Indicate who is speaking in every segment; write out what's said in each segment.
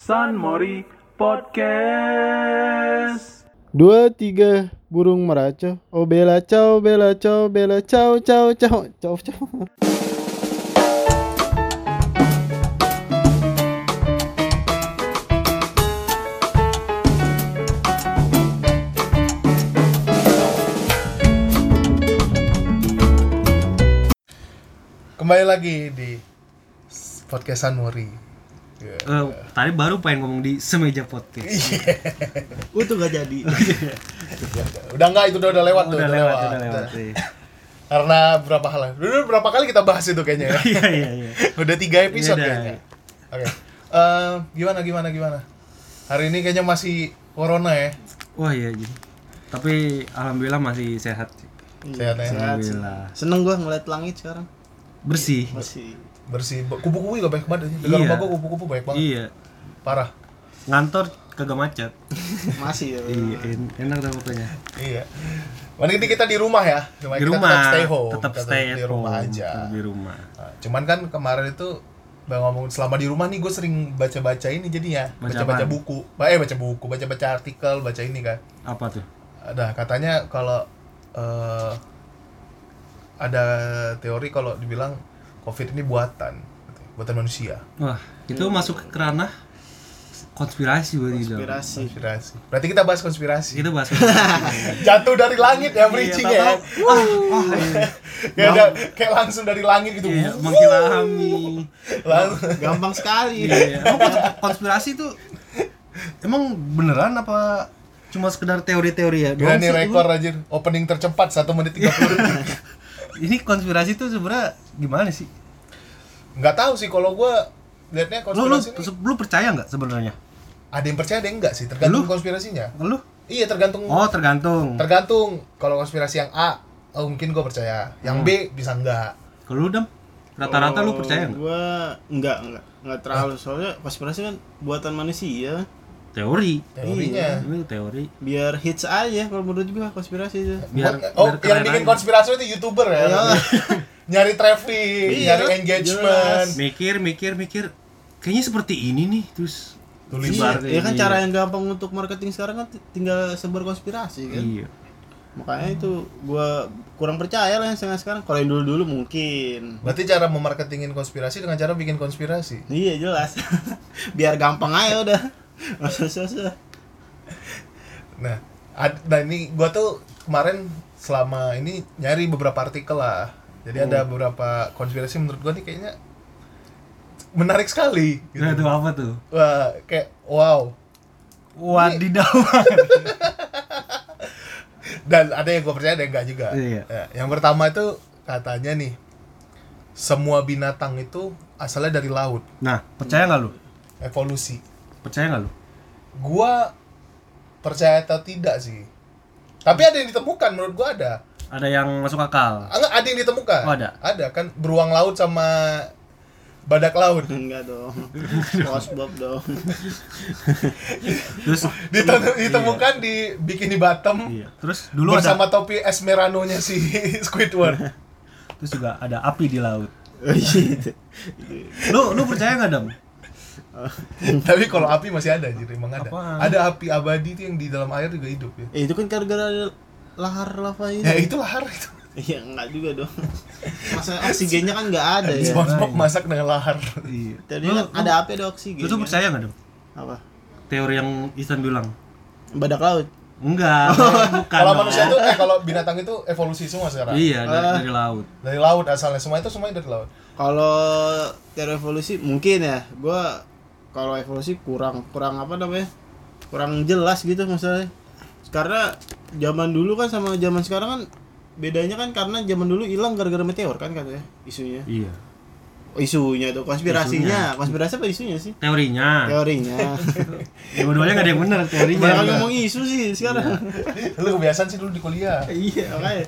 Speaker 1: San Mori Podcast.
Speaker 2: Dua, tiga, burung meraca. Oh bela cao, bela cao, bela cao, cao, cao, cao, cao.
Speaker 3: Kembali lagi di Ya, s- podcast Sanwori.
Speaker 4: Eh, tadi baru pengen ngomong di semeja podcast.
Speaker 5: Itu gak jadi.
Speaker 3: Udah enggak itu udah, udah lewat tuh,
Speaker 4: udah lewat, udah lewat. iya.
Speaker 3: Karena berapa hal? Dulu berapa kali kita bahas itu kayaknya ya?
Speaker 4: Iya iya iya.
Speaker 3: udah tiga episode
Speaker 4: Udah.
Speaker 3: kayaknya. Oke. Eh, gimana gimana gimana? Hari ini kayaknya masih corona ya.
Speaker 4: Wah iya jadi. Tapi alhamdulillah masih sehat. sih.
Speaker 3: Sehat ya.
Speaker 5: Sehat sih.
Speaker 4: Alhamdulillah.
Speaker 5: Seneng gua ngeliat langit sekarang.
Speaker 4: Bersih.
Speaker 5: Masih.
Speaker 3: Bersih. Ba- Kupu-kupu juga banyak banget. Di rumah
Speaker 4: Iya.
Speaker 3: gua kupu-kupu banyak banget.
Speaker 4: Iya.
Speaker 3: Parah.
Speaker 4: Ngantor kagak macet.
Speaker 5: Masih ya.
Speaker 4: Iya, en- enak dah pokoknya.
Speaker 3: Iya. Mending kita di rumah ya. Cuma
Speaker 4: Di
Speaker 3: kita
Speaker 4: rumah.
Speaker 3: tetap stay home.
Speaker 4: Tetap
Speaker 3: Kita
Speaker 4: stay
Speaker 3: di
Speaker 4: at
Speaker 3: rumah
Speaker 4: home,
Speaker 3: aja.
Speaker 4: tetap Di rumah.
Speaker 3: Nah, Cuman kan kemarin itu Bang ngomong selama di rumah nih gue sering baca-baca ini jadinya
Speaker 4: Baca apaan?
Speaker 3: baca-baca buku Ba- eh baca buku baca-baca artikel baca ini kan
Speaker 4: Apa tuh?
Speaker 3: ada katanya kalau eh, ada teori kalau dibilang covid ini buatan buatan manusia
Speaker 4: Wah, itu masuk ke ranah konspirasi gue bilang.
Speaker 5: Inspirasi.
Speaker 3: konspirasi berarti kita bahas konspirasi
Speaker 4: Kita bahas konspirasi.
Speaker 3: jatuh dari langit ya bridgingnya ya
Speaker 4: Iya, Wah, wah, iya.
Speaker 3: kayak, ada- kayak langsung dari langit gitu
Speaker 4: Iya, mengilhami.
Speaker 3: lalu
Speaker 5: Gampang sekali.
Speaker 4: Iya, emang kons- konspirasi itu emang beneran apa cuma sekedar teori-teori ya?
Speaker 3: Gila
Speaker 4: doang
Speaker 3: nih
Speaker 4: sih?
Speaker 3: rekor anjir opening tercepat 1 menit 30 detik
Speaker 4: Ini konspirasi itu sebenarnya gimana sih?
Speaker 3: nggak tahu sih kalau gue liatnya
Speaker 4: Lu lu,
Speaker 3: konspirasi ini
Speaker 4: lu percaya nggak sebenarnya?
Speaker 3: ada yang percaya ada yang enggak sih
Speaker 4: Lu?
Speaker 3: tergantung konspirasinya
Speaker 4: Lu?
Speaker 3: iya tergantung
Speaker 4: Oh, tergantung.
Speaker 3: tergantung kalau konspirasi yang A oh, mungkin gue percaya yang B
Speaker 4: Hmm.
Speaker 3: bisa enggak
Speaker 4: Kalau lu dem rata-rata lu percaya nggak?
Speaker 5: Gue enggak, enggak, enggak terlalu. Soalnya konspirasi kan buatan manusia.
Speaker 4: Teori.
Speaker 3: teorinya
Speaker 4: Ini teori.
Speaker 5: Biar hits aja kalau menurut gua konspirasi itu.
Speaker 4: Biar
Speaker 3: oh
Speaker 4: biar keren
Speaker 3: yang bikin
Speaker 4: aja. Iya.
Speaker 3: konspirasi itu youtuber ya nyari traffic
Speaker 5: Iya,
Speaker 3: nyari engagement
Speaker 4: mikir mikir mikir kayaknya seperti ini nih terus
Speaker 3: Tulis.
Speaker 4: sebar
Speaker 5: Iya,
Speaker 4: kayak
Speaker 5: ya kan
Speaker 4: gini.
Speaker 5: cara yang gampang untuk marketing sekarang kan t- tinggal sebar konspirasi kan.
Speaker 4: Iya.
Speaker 5: Makanya itu gua kurang percaya lah yang sekarang sekarang. Kalau yang dulu-dulu mungkin.
Speaker 3: berarti cara memarketingin konspirasi dengan cara bikin konspirasi
Speaker 5: Iya jelas. Biar gampang aja udah. Masa susah.
Speaker 3: nah ad- nah ini gue tuh kemarin selama ini nyari beberapa artikel lah
Speaker 4: Hmm.
Speaker 3: jadi ada beberapa konspirasi menurut gue nih kayaknya menarik sekali gitu.
Speaker 4: Nah, itu apa tuh?
Speaker 3: Wah, kayak wow
Speaker 4: Wadidaw.
Speaker 3: dan ada yang gue percaya ada yang enggak juga
Speaker 4: Iya.
Speaker 3: Ya, yang pertama itu katanya nih semua binatang itu asalnya dari laut
Speaker 4: Nah, percaya nggak lu?
Speaker 3: evolusi
Speaker 4: Percaya nggak lu?
Speaker 3: gua percaya atau tidak sih tapi ada yang ditemukan menurut gua ada
Speaker 4: Ada yang masuk akal.
Speaker 3: Ah, enggak ada yang ditemukan
Speaker 4: Oh, ada.
Speaker 3: kan beruang laut sama badak laut
Speaker 5: Enggak dong. Spongebob dong.
Speaker 4: Terus
Speaker 3: Ditem- ditemukan di bikini bottom
Speaker 4: iya. Terus dulu
Speaker 3: bersama
Speaker 4: ada
Speaker 3: topi Esmerano-nya si Squidward
Speaker 4: terus juga ada api di laut.
Speaker 5: Oh, gitu.
Speaker 4: Lu lu percaya nggak, Dam?
Speaker 3: Iya. tapi kalau api masih ada jadi emang ada
Speaker 4: Apaan?
Speaker 3: ada api abadi itu yang di dalam air juga hidup ya
Speaker 5: Eh, itu kan gara-gara ada lahar lava itu.
Speaker 3: ya itu lahar itu
Speaker 5: Iya, enggak juga dong. Masa oksigennya kan enggak ada ya.
Speaker 3: SpongeBob masak dengan lahar
Speaker 4: Iya.
Speaker 5: Tadi
Speaker 4: Lu,
Speaker 5: kan ada api ada oksigen.
Speaker 4: lu tuh
Speaker 5: kan?
Speaker 4: percaya nggak, Dam?
Speaker 5: Apa?
Speaker 4: Teori yang Isan bilang.
Speaker 5: Badak laut.
Speaker 4: Enggak, bukan.
Speaker 3: kalau
Speaker 4: dong.
Speaker 3: manusia Ah. itu eh kalau binatang itu evolusi semua sekarang
Speaker 4: Iya, dari, dari laut.
Speaker 3: dari laut asalnya semua itu semuanya dari laut
Speaker 5: Kalau teori evolusi mungkin ya. Gua kalau evolusi kurang kurang apa namanya? Kurang jelas gitu masalahnya. Karena zaman dulu kan sama zaman sekarang kan bedanya kan karena zaman dulu hilang gara-gara meteor kan katanya isunya.
Speaker 4: Iya.
Speaker 5: isunya tuh konspirasinya konspirasi apa isunya sih
Speaker 3: Iya.
Speaker 4: Teorinya.
Speaker 5: teorinya
Speaker 4: Ya, Dua-duanya nggak ada yang benar teorinya.
Speaker 5: banyak ngomong isu sih sekarang
Speaker 3: lu kebiasaan sih dulu di kuliah
Speaker 5: iya makanya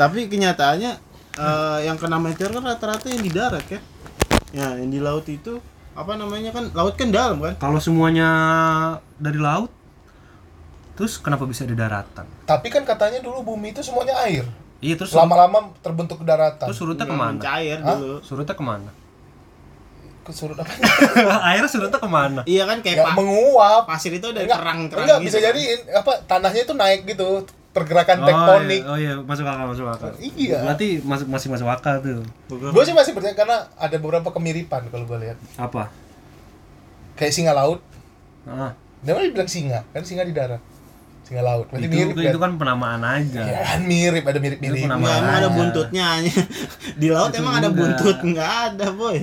Speaker 5: tapi kenyataannya eh, yang kena meteor kan rata-rata yang di darat kan ya yang di laut itu apa namanya kan laut kan dalam kan
Speaker 4: Kalau semuanya dari laut, terus kenapa bisa di daratan?
Speaker 3: tapi kan katanya dulu bumi itu semuanya air
Speaker 4: Iya, terus
Speaker 3: lama-lama terbentuk ke daratan
Speaker 4: terus surutnya
Speaker 5: Nggak
Speaker 4: kemana?
Speaker 5: mencair dulu
Speaker 4: Surutnya kemana?
Speaker 3: kesurut apa?
Speaker 4: airnya surutnya kemana
Speaker 5: Iya kan kayak
Speaker 3: ya
Speaker 5: pa-
Speaker 3: menguap.
Speaker 5: pasir itu udah
Speaker 3: Enggak,
Speaker 5: kerang-kerang
Speaker 3: enggak
Speaker 5: gitu
Speaker 3: bisa
Speaker 5: kan.
Speaker 3: jadi apa tanahnya itu naik gitu, pergerakan
Speaker 4: Oh,
Speaker 3: tektonik.
Speaker 4: iya. Oh iya, masuk akal, masuk akal.
Speaker 3: Iya.
Speaker 4: Berarti masih masih masuk akal tuh.
Speaker 5: Bukan.
Speaker 3: Gue sih masih percaya karena ada beberapa kemiripan kalau gue lihat.
Speaker 4: Apa?
Speaker 3: Kayak singa laut.
Speaker 4: Ah,
Speaker 3: Dia kan bilang singa, kan singa di darat. Singa laut. Berarti
Speaker 4: itu
Speaker 3: mirip kan?
Speaker 4: itu kan penamaan aja.
Speaker 3: Ya kan mirip, ada mirip-mirip.
Speaker 4: Itu
Speaker 5: Enggak, emang
Speaker 4: Makanya.
Speaker 5: ada buntutnya anjing. Di laut
Speaker 4: Itu
Speaker 5: emang ada
Speaker 4: enggak.
Speaker 5: buntut? Enggak ada, boy.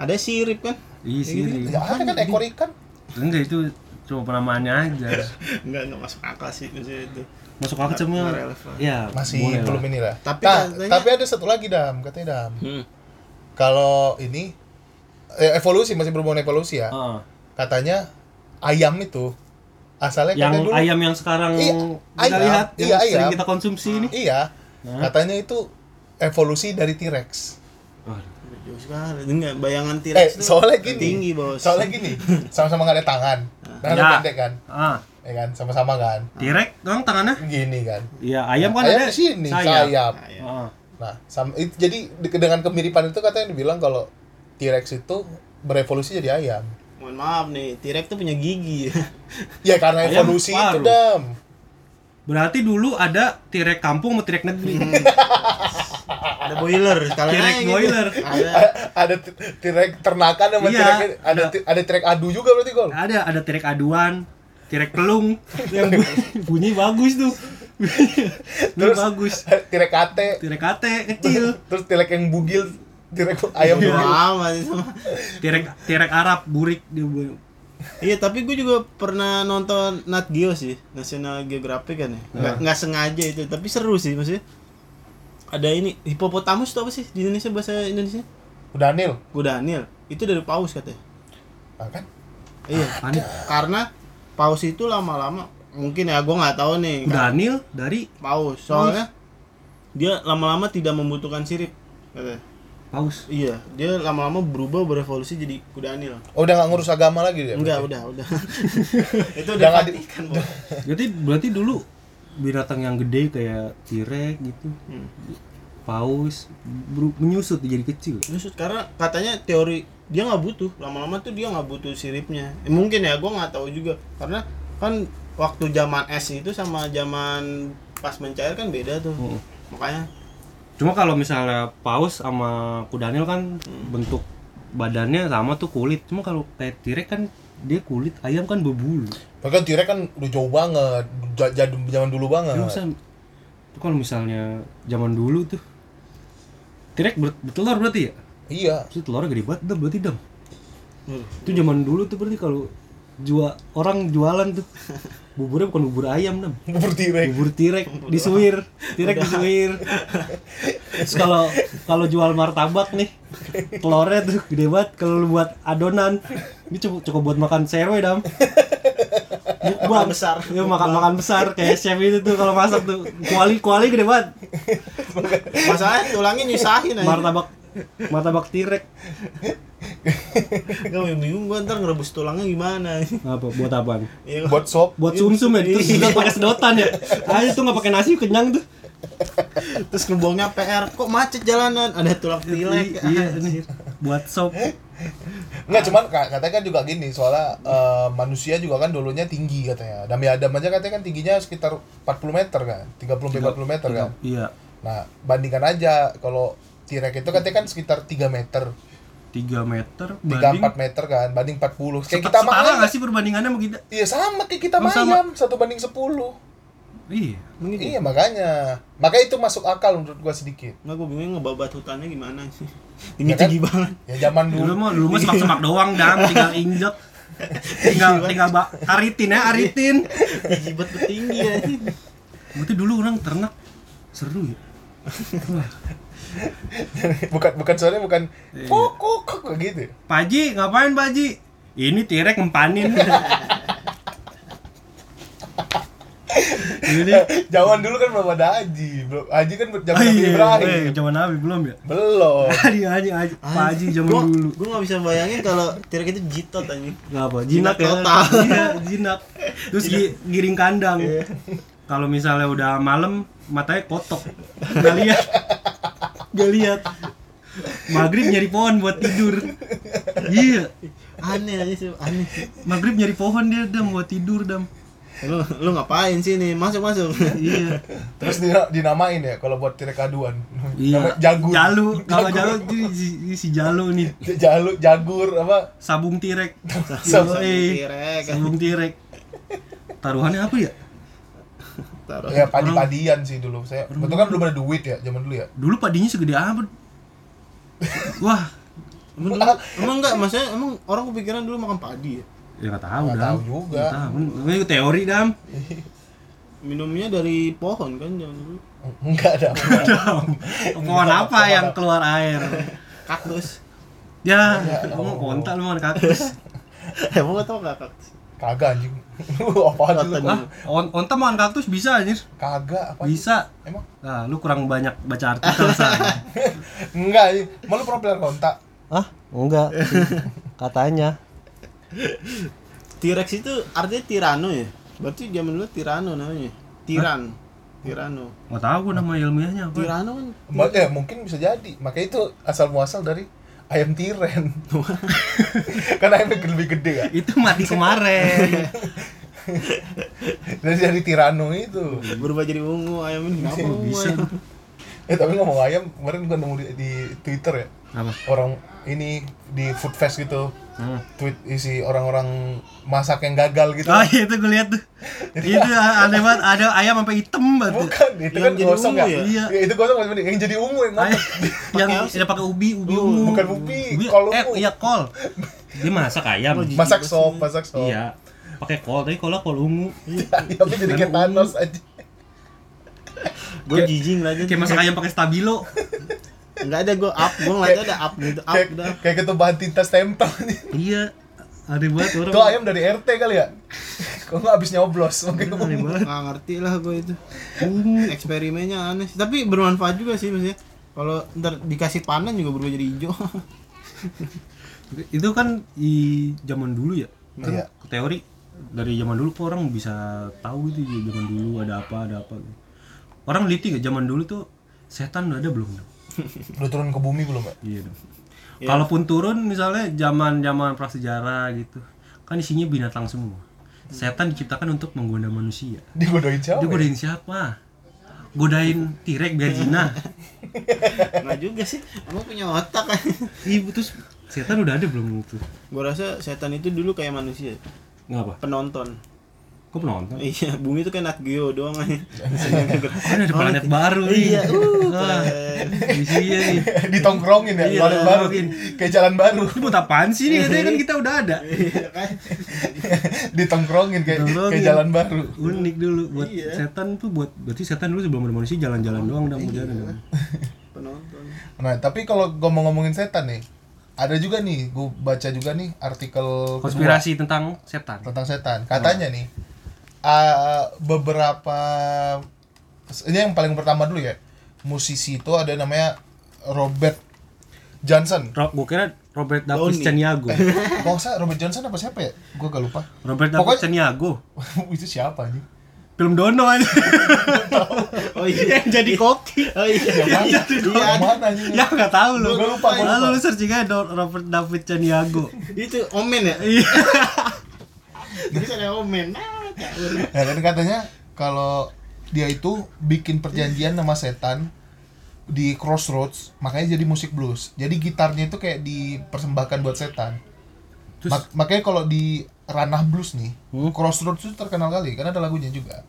Speaker 5: Ada sirip kan?
Speaker 4: Iya sih. Ri.
Speaker 3: Ya ada kan ekor ikan.
Speaker 4: Enggak itu cuma penamaannya aja.
Speaker 3: Iya.
Speaker 5: Enggak, enggak masuk akal sih maksudnya itu.
Speaker 4: Masuk akal cuma
Speaker 5: Nggak relevan.
Speaker 4: ya
Speaker 3: Masih
Speaker 4: boleh lah.
Speaker 3: belum ini lah.
Speaker 5: Tapi
Speaker 3: Nah,
Speaker 5: katanya-
Speaker 3: tapi ada satu lagi Dam, katanya Dam.
Speaker 5: Hmm.
Speaker 3: Kalau ini eh, evolusi masih berhubungan evolusi ya.
Speaker 4: Heeh.
Speaker 3: Katanya ayam itu asalnya
Speaker 4: yang
Speaker 3: katanya dulu
Speaker 4: ayam yang sekarang
Speaker 3: Iya,
Speaker 4: kita
Speaker 3: ayam.
Speaker 4: lihat yang
Speaker 3: Iya,
Speaker 4: sering
Speaker 3: ayam.
Speaker 4: kita konsumsi ini.
Speaker 3: Iya. Katanya itu evolusi dari T-Rex.
Speaker 4: Waduh.
Speaker 5: Jauh sekali. Enggak, bayangan T-Rex
Speaker 3: Eh,
Speaker 5: tuh
Speaker 3: soalnya gini.
Speaker 5: tinggi, Bos.
Speaker 3: Soalnya gini, sama-sama nggak ada tangan. Tangan
Speaker 4: Ya.
Speaker 3: pendek kan?
Speaker 4: Ah,
Speaker 3: Ya kan, sama-sama kan.
Speaker 4: direk dong tangannya.
Speaker 3: Gini kan.
Speaker 4: Iya, ayam kan
Speaker 3: ayam
Speaker 4: ada
Speaker 3: di sini,
Speaker 4: sayap. Ah.
Speaker 3: sayap.
Speaker 5: Ayam.
Speaker 4: Heeh.
Speaker 3: Nah, sam- it- jadi de- dengan kemiripan itu katanya dibilang kalau T-Rex itu berevolusi jadi ayam.
Speaker 5: Mohon maaf nih, T-Rex tuh punya gigi.
Speaker 3: Ya karena
Speaker 4: Ayam
Speaker 3: evolusi itu,
Speaker 4: paruh.
Speaker 3: Dam.
Speaker 4: Berarti dulu ada tirek kampung sama tirek negeri.
Speaker 3: Hmm.
Speaker 5: ada boiler, sekalian
Speaker 4: T-Rex
Speaker 5: aja gitu.
Speaker 4: boiler.
Speaker 5: Ada.
Speaker 3: A- ada t- T-Rex ternakan sama
Speaker 4: Ya. Iya. Ya.
Speaker 3: T-Rex ada t- ada T-Rex adu juga berarti gol.
Speaker 4: ada ada tirek aduan, tirek pelung yang bu- bunyi bagus tuh. Bunyi
Speaker 3: Terus-
Speaker 4: bagus.
Speaker 3: T-Rex kate,
Speaker 4: Tirek ate kecil. Iya.
Speaker 3: terus T-Rex yang bugil, T-Rex ayam
Speaker 5: Bodo
Speaker 3: bugil.
Speaker 5: amat itu mah.
Speaker 4: Tirek tirek Arab burik dia bu-
Speaker 5: Iya, tapi gue juga pernah nonton Nat Geo sih, National Geographic kan ya. Nggak, nggak sengaja itu, tapi seru sih maksudnya. Ada ini hipopotamus tuh apa sih di Indonesia bahasa Indonesia?
Speaker 3: Udah nil.
Speaker 5: Kudanil. Itu dari paus katanya.
Speaker 3: Nah, kan?
Speaker 5: Iya.
Speaker 4: Apaan?
Speaker 5: Karena paus itu lama-lama mungkin ya gue nggak tahu nih.
Speaker 4: Danil dari
Speaker 5: Paus. Soalnya dia lama-lama tidak membutuhkan sirip. katanya.
Speaker 4: paus.
Speaker 5: Iya, dia lama-lama berubah berevolusi jadi kudanil.
Speaker 3: Oh, udah nggak ngurus agama lagi dia.
Speaker 5: Enggak, udah, udah. itu udah
Speaker 3: Iya, Jangan di-
Speaker 5: matikan, Bos.
Speaker 4: Jadi berarti dulu binatang yang gede kayak tirek gitu,
Speaker 5: Hmm.
Speaker 4: paus beru- menyusut jadi kecil.
Speaker 5: Maksud karena katanya teori dia nggak butuh lama-lama tuh dia nggak butuh siripnya Eh, mungkin ya gue nggak tahu juga karena kan waktu zaman es itu sama zaman pas mencair kan beda tuh
Speaker 4: Mm.
Speaker 3: Hmm.
Speaker 5: makanya
Speaker 4: Cuma kalau misalnya paus sama kudanil kan bentuk badannya sama tuh kulit. Cuma kalau kayak tirek kan dia kulit, ayam kan berbulu.
Speaker 3: Bahkan T-Rex kan udah jauh banget, ja- jadum- zaman dulu banget.
Speaker 4: Cuma misal- kalau misalnya zaman dulu tuh tirek ber- bertelur berarti ya?
Speaker 3: Iya.
Speaker 4: Itu telurnya gede banget dah berarti dam. Itu zaman dulu tuh berarti kalau jual orang jualan tuh buburnya bukan bubur ayam dam.
Speaker 3: Bubur T-Rex.
Speaker 4: bubur tirek di suwir tirek di suwir terus kalau kalau jual martabak nih telurnya tuh gede banget kalau lu buat adonan ini cukup cukup buat makan serwe dam
Speaker 5: Makan
Speaker 4: Mukbang
Speaker 5: besar.
Speaker 4: Iya, makan makan besar kayak chef itu tuh kalau masak tuh kuali kuali gede banget
Speaker 5: masalahnya tulangnya nyusahin
Speaker 4: Nah, iya.
Speaker 5: aja
Speaker 4: martabak martabak tirek
Speaker 5: nggak bingung gue ntar ngerebus tulangnya gimana
Speaker 4: apa buat apaan
Speaker 5: Iya,
Speaker 3: Buat sop.
Speaker 4: buat sumsum ya terus sedot pakai sedotan ya aja tuh nggak pakai nasi kenyang tuh
Speaker 5: terus ngebuangnya PR kok macet jalanan ada tulang
Speaker 4: I-
Speaker 5: tilek
Speaker 4: iya nih buat
Speaker 3: Eh,
Speaker 4: sop
Speaker 3: Enggak, cuman ka- katanya kan juga gini, soalnya eh, manusia juga kan dulunya tinggi katanya. Dami Adam aja katanya kan tingginya sekitar 40 meter kan, 30 sampai 40 meter kan.
Speaker 4: iya
Speaker 3: Nah, bandingkan aja kalau T-Rex itu katanya kan sekitar 3 meter,
Speaker 4: 3 meter
Speaker 3: 3
Speaker 4: banding
Speaker 3: 4 meter kan, banding 40. Kayak
Speaker 4: kita
Speaker 3: kita sama
Speaker 4: setara
Speaker 3: ayam.
Speaker 4: nggak sih perbandingannya sama kita?
Speaker 3: Iya, sama kayak kita
Speaker 4: Oh,
Speaker 3: sama
Speaker 4: sama.
Speaker 3: ayam, 1 banding 10.
Speaker 4: Iya.
Speaker 3: Iya, makanya. Makanya itu masuk akal menurut gua sedikit.
Speaker 5: nggak gue bingung ngebabat hutannya gimana sih tinggi
Speaker 3: Ya kan?
Speaker 5: tinggi banget
Speaker 3: Ya zaman
Speaker 4: Dulu
Speaker 3: dulu.
Speaker 4: Iya, mah dulu mah semak-semak doang dam, tinggal injek. Tinggal tinggal bak aritin ya, aritin.
Speaker 5: tinggi banget tinggi ya
Speaker 4: Berarti dulu orang ternak seru ya. Wah,
Speaker 3: bukan bukan soalnya bukan
Speaker 4: Iya.
Speaker 3: kok kok kok kayak gitu.
Speaker 4: Pak Haji, ngapain Pak Haji? Ini tirek ngempanin. Ini
Speaker 3: Zaman dulu kan belum ada Haji. Belum Haji kan zaman
Speaker 4: oh,
Speaker 3: Nabi
Speaker 4: iya,
Speaker 3: Ibrahim.
Speaker 4: eh, zaman Nabi belum ya?
Speaker 3: Belum.
Speaker 4: Aji, aji, aji, Pak Haji zaman dulu.
Speaker 5: gue nggak bisa bayangin kalau tirek itu jitot anjing
Speaker 4: Gak apa, jinak,
Speaker 5: Jinak
Speaker 4: ya.
Speaker 5: total.
Speaker 4: Iya, jinak. Iya. Terus gi- giring kandang. Kalau misalnya udah malam, matanya kotok. Gak lihat. Gak lihat. Maghrib nyari pohon buat tidur. iya
Speaker 5: aneh aja sih aneh
Speaker 4: maghrib nyari pohon dia dam mau tidur dam
Speaker 5: lu lu ngapain sih nih masuk masuk
Speaker 4: iya
Speaker 3: Terus dina- dinamain ya kalau buat tirik aduan. Nama
Speaker 4: iya
Speaker 3: Jagur.
Speaker 4: jalu kalau jalu
Speaker 3: Jagur.
Speaker 4: jadi si, si jalu nih
Speaker 3: Jalu jagur apa?
Speaker 4: sabung tirek
Speaker 3: Sabung
Speaker 4: Yoi.
Speaker 5: tirek.
Speaker 4: sabung tirek taruhannya apa ya
Speaker 5: taruh
Speaker 3: Ya padi-padian sih dulu saya. Betul kan belum ada duit ya zaman dulu ya.
Speaker 4: dulu padinya segede apa wah
Speaker 5: emang, dulu- emang enggak maksudnya emang orang kepikiran dulu makan padi ya
Speaker 4: ya nggak tahu
Speaker 3: Nggak
Speaker 4: dam
Speaker 3: tahu juga.
Speaker 4: Nggak tahu. Ini teori dam
Speaker 5: minumnya dari pohon kan zaman dulu
Speaker 3: Enggak ada.
Speaker 4: Dam. pohon apa yang keluar air
Speaker 5: kaktus
Speaker 4: ya kamu kontak lu makan kaktus
Speaker 5: emang gak tau gak kaktus
Speaker 3: Kagak anjing. Apaan sih lu?
Speaker 5: Nonton.
Speaker 4: ah on onta makan kaktus bisa anjir
Speaker 3: Kagak apa?
Speaker 4: bisa
Speaker 3: Emang
Speaker 4: nah lu kurang banyak baca artikel san
Speaker 3: enggak sih. Malu propeller kontak.
Speaker 1: ah enggak katanya
Speaker 5: T-Rex itu artinya tirano ya berarti zaman dulu tirano namanya tiran tirano
Speaker 4: nggak tahu gua nama ilmiahnya apa
Speaker 5: tirano kan
Speaker 3: Ma- Ya, mungkin bisa jadi. Makanya itu asal muasal dari ayam tiren. Karena ayam lebih gede kan.
Speaker 4: itu mati kemarin
Speaker 3: Dari dari tirano itu.
Speaker 5: berubah jadi ungu ayam ini kenapa
Speaker 4: Kok
Speaker 5: ungu
Speaker 4: bisa
Speaker 5: ayam?
Speaker 3: Eh tapi ngomong ayam, kemarin gua nemu di, di Twitter ya.
Speaker 4: apa
Speaker 3: Orang ini di food fest gitu.
Speaker 4: Hmm.
Speaker 3: Tweet isi orang-orang masak yang gagal gitu.
Speaker 4: Oh iya itu gue lihat tuh. itu aneh banget ada ayam sampai hitam banget.
Speaker 3: Bukan, itu
Speaker 5: Yang
Speaker 3: kan
Speaker 5: jadi
Speaker 3: gosong
Speaker 5: ungu
Speaker 3: ya?
Speaker 5: ya?
Speaker 4: Iya. Ah,
Speaker 3: Ya, itu gosong maksudnya yang jadi ungu yang
Speaker 4: Ayam
Speaker 3: ngomong.
Speaker 4: yang
Speaker 5: apa sih?
Speaker 4: ada pakai ubi, ubi
Speaker 3: Uh,
Speaker 4: ungu.
Speaker 3: bukan ubi,
Speaker 4: Ubi-
Speaker 3: kol
Speaker 4: eh,
Speaker 3: ungu.
Speaker 4: iya kol. Dia masak ayam.
Speaker 3: Masak sop, masak sop.
Speaker 4: Iya. Pakai kol, tapi kolnya kol ungu.
Speaker 3: Tapi jadi kayak Thanos aja.
Speaker 5: gue jijik lagi
Speaker 4: Kayak masak ayam pakai stabilo.
Speaker 5: nggak ada gue up gue ngeliatnya ada up gitu up
Speaker 3: Kayak,
Speaker 5: udah
Speaker 3: kayak ketumpahan tinta stempel nih.
Speaker 4: iya. Aneh banget orang.
Speaker 3: Itu ayam dari RT kali ya? Kok nggak habis nyoblos? Mungkin
Speaker 4: Bener, Aneh banget.
Speaker 5: nggak ngerti lah gue itu Hmm,
Speaker 4: Ungu.
Speaker 5: eksperimennya aneh sih. tapi bermanfaat juga sih maksudnya kalau ntar dikasih panen juga berubah jadi hijau
Speaker 4: Itu kan di zaman dulu ya. Kan
Speaker 3: Iya.
Speaker 4: Teori dari zaman dulu kok orang bisa tahu gitu ya, zaman dulu ada apa ada apa. gitu. Orang liti gak zaman dulu tuh setan udah ada belum?
Speaker 3: Udah turun ke bumi belum ya?
Speaker 4: Iya dong. Kalaupun turun misalnya zaman-zaman prasejarah gitu, kan isinya binatang semua.
Speaker 5: Hmm.
Speaker 4: Setan diciptakan untuk menggoda manusia.
Speaker 3: Digodoin
Speaker 4: Dia
Speaker 5: Oh, iya.
Speaker 3: siapa? ya?
Speaker 4: godain siapa? Godain tirek biar zina.
Speaker 5: nggak juga sih emang punya otak kan
Speaker 4: Ibu terus setan udah ada belum itu?
Speaker 5: gue rasa setan itu dulu kayak manusia
Speaker 4: Ngapa?
Speaker 5: penonton
Speaker 4: Kok penonton?
Speaker 5: iya bumi itu kayak Nat Geo doang kan
Speaker 4: Oh, ini ada planet baru nih.
Speaker 5: iya uh,
Speaker 4: Wah,
Speaker 5: keren.
Speaker 4: isinya nih.
Speaker 3: Ditongkrongin ya,
Speaker 4: Iya,
Speaker 3: jalan baru.
Speaker 4: ditongkrongin.
Speaker 3: Kayak jalan baru.
Speaker 4: Ini buat apaan sih nih? Katanya kan kita udah ada.
Speaker 5: Iya kan?
Speaker 3: Ditongkrongin kayak kayak
Speaker 4: Ditongkrongin.
Speaker 3: jalan baru.
Speaker 4: Unik dulu buat
Speaker 5: Iya. Oh,
Speaker 4: setan tuh buat berarti setan dulu sebelum ada manusia jalan-jalan doang dan
Speaker 5: iya.
Speaker 4: jalan.
Speaker 5: penonton
Speaker 3: Nah, tapi kalau gua mau ngomongin setan nih, ada juga nih, gua baca juga nih artikel kedua
Speaker 4: Konspirasi tentang setan.
Speaker 3: tentang setan. Katanya nih, ah, beberapa ini yang paling pertama dulu ya. Musisi itu ada namanya Robert Johnson.
Speaker 4: Ro gue kira Robert
Speaker 5: Downey.
Speaker 4: Davis Caniago.
Speaker 3: Kok saya Robert Johnson apa siapa ya? Gua gak lupa.
Speaker 4: Robert
Speaker 3: Pokoknya-
Speaker 4: Davis Caniago.
Speaker 3: itu siapa nih?
Speaker 4: Film Dono aja.
Speaker 5: oh iya jadi koki oh iya
Speaker 3: Yang mana? Yang mana anjing?
Speaker 4: ya nggak tahu lu.
Speaker 3: Gua lupa, gua lupa.
Speaker 4: Lalu lu searching aja Do- Robert David Caniago.
Speaker 5: itu omen ya
Speaker 4: Iya.
Speaker 5: bisa ada omen nah, kabur.
Speaker 3: Ya, kan katanya kalau dia itu bikin perjanjian sama setan di crossroads, makanya jadi musik blues. Jadi gitarnya itu kayak dipersembahkan buat setan.
Speaker 4: Terus- Hmm?
Speaker 3: Mak- makanya kalau di ranah blues nih, crossroads itu terkenal kali karena ada lagunya juga.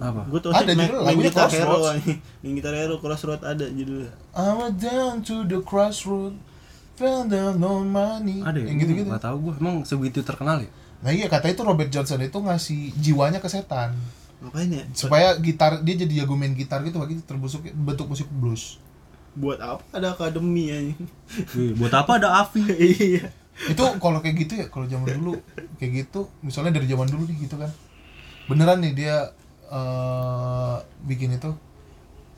Speaker 4: Apa?
Speaker 5: Gue tau sih
Speaker 3: Ada
Speaker 5: main,
Speaker 3: judul
Speaker 5: main
Speaker 3: lagunya
Speaker 5: gitar hero
Speaker 3: Crossroads.
Speaker 5: anjing. Main gitar hero crossroad ada judulnya
Speaker 3: I went down to the crossroad, found out no money.
Speaker 4: Ada ya?
Speaker 3: Yang gitu-gitu.
Speaker 4: Nggak tahu gue. Emang segitu terkenal ya?
Speaker 3: Nah iya katanya itu Robert Johnson itu ngasih jiwanya ke setan
Speaker 5: Makanya
Speaker 3: supaya gitar dia jadi jago main gitar gitu bagi terbusuk bentuk musik blues.
Speaker 5: buat apa ada akademi anjing
Speaker 4: Wih, Iya, buat apa ada Avi?
Speaker 5: Iya
Speaker 3: itu kalau kayak gitu ya kalau zaman dulu kayak gitu misalnya dari zaman dulu nih gitu kan beneran nih dia eh bikin itu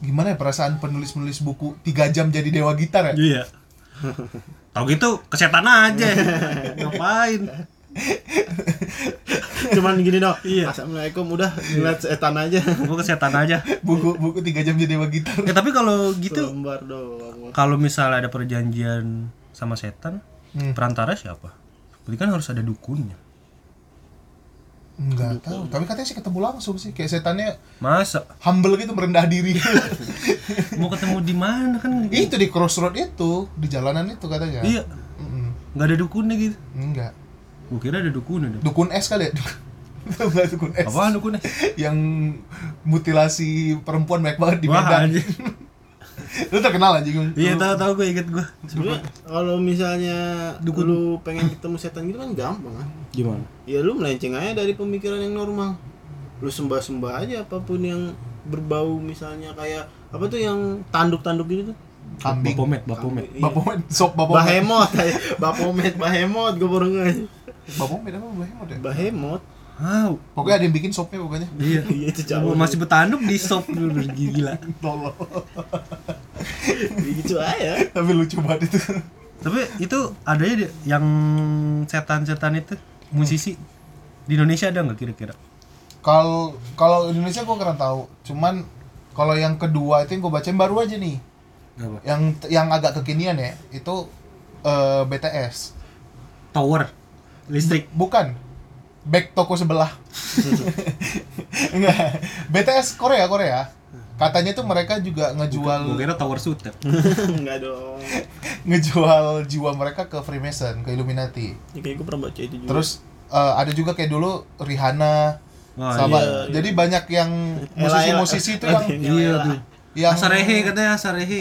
Speaker 3: gimana ya perasaan penulis penulis buku tiga jam jadi dewa gitar ya
Speaker 4: Iya. Tahu gitu kesetan aja. Ngapain?
Speaker 5: Cuman gini dong
Speaker 4: Iya.
Speaker 5: Assalamualaikum udah ngeliat setan aja
Speaker 4: Gue kesetan aja.
Speaker 3: buku buku tiga jam jadi dewa gitar
Speaker 4: Ya, tapi kalau gitu
Speaker 5: Lembar doang
Speaker 4: kalau misalnya ada perjanjian sama setan
Speaker 3: Hmm.
Speaker 4: Perantara siapa? Berarti kan harus ada dukunnya.
Speaker 3: Enggak tahu. Tapi katanya sih ketemu langsung sih. Kayak setannya
Speaker 4: Masa
Speaker 3: humble gitu merendah diri.
Speaker 4: mau ketemu di mana kan?
Speaker 3: itu di crossroad itu, di jalanan itu katanya.
Speaker 4: Iya,
Speaker 3: Mm-mm.
Speaker 4: nggak ada dukunnya gitu.
Speaker 3: Enggak.
Speaker 4: Gue kira ada dukunnya. dong.
Speaker 3: Dukun es kali ya. Tahu nggak dukun es.
Speaker 4: Apaan dukunnya?
Speaker 3: Yang mutilasi perempuan banyak banget di
Speaker 4: Wah,
Speaker 3: Medan.
Speaker 4: anjing.
Speaker 3: Lu terkenal anjing.
Speaker 4: Iya, tahu tahu gue inget gue.
Speaker 5: Sebenarnya kalau misalnya
Speaker 4: Dukun.
Speaker 5: lu pengen ketemu setan gitu kan gampang kan.
Speaker 6: Gimana?
Speaker 5: Ya lu melenceng aja dari pemikiran yang normal. Lu sembah-sembah aja apapun yang berbau misalnya kayak apa tuh yang tanduk-tanduk gitu tuh.
Speaker 3: Kambing.
Speaker 6: Bapomet, bapomet.
Speaker 5: Iya.
Speaker 3: Bapomet, sop bapomet.
Speaker 5: Bahemot, aja. Bapomet, bahemot, gue baru nge-
Speaker 3: Bapomet apa bahemot ya?
Speaker 5: Bahemot,
Speaker 4: Wow,
Speaker 3: Pokoknya ada yang bikin sopnya pokoknya.
Speaker 4: iya.
Speaker 5: iya itu jauh.
Speaker 4: Gua masih bertanduk di shop dulu gila.
Speaker 3: Tolol.
Speaker 5: gitu aja.
Speaker 3: Tapi lucu banget itu.
Speaker 4: Tapi itu adanya di- yang setan-setan itu musisi di Indonesia ada nggak kira-kira?
Speaker 3: Kalau kalau Indonesia gua kurang tahu. Cuman kalau yang kedua itu yang gua bacain baru aja nih.
Speaker 6: Apa?
Speaker 3: Yang yang agak kekinian ya, itu eh, BTS.
Speaker 4: Tower listrik.
Speaker 3: Bukan. Back toko sebelah. Enggak. BTS Korea, Korea. Katanya tuh mereka juga
Speaker 4: Gue
Speaker 3: ngejual
Speaker 4: kira tower suit ya.
Speaker 5: Enggak dong.
Speaker 3: ngejual jiwa mereka ke Freemason, ke Illuminati.
Speaker 5: Ya, kayak gue pernah baca itu juga.
Speaker 3: Terus eh, ada juga kayak dulu Rihanna
Speaker 4: Wah,
Speaker 5: iya,
Speaker 3: sama
Speaker 5: iya.
Speaker 3: jadi banyak yang musisi-musisi itu yang
Speaker 4: Iya tuh.
Speaker 3: yang Ah.
Speaker 4: Asarehe katanya Asarehe.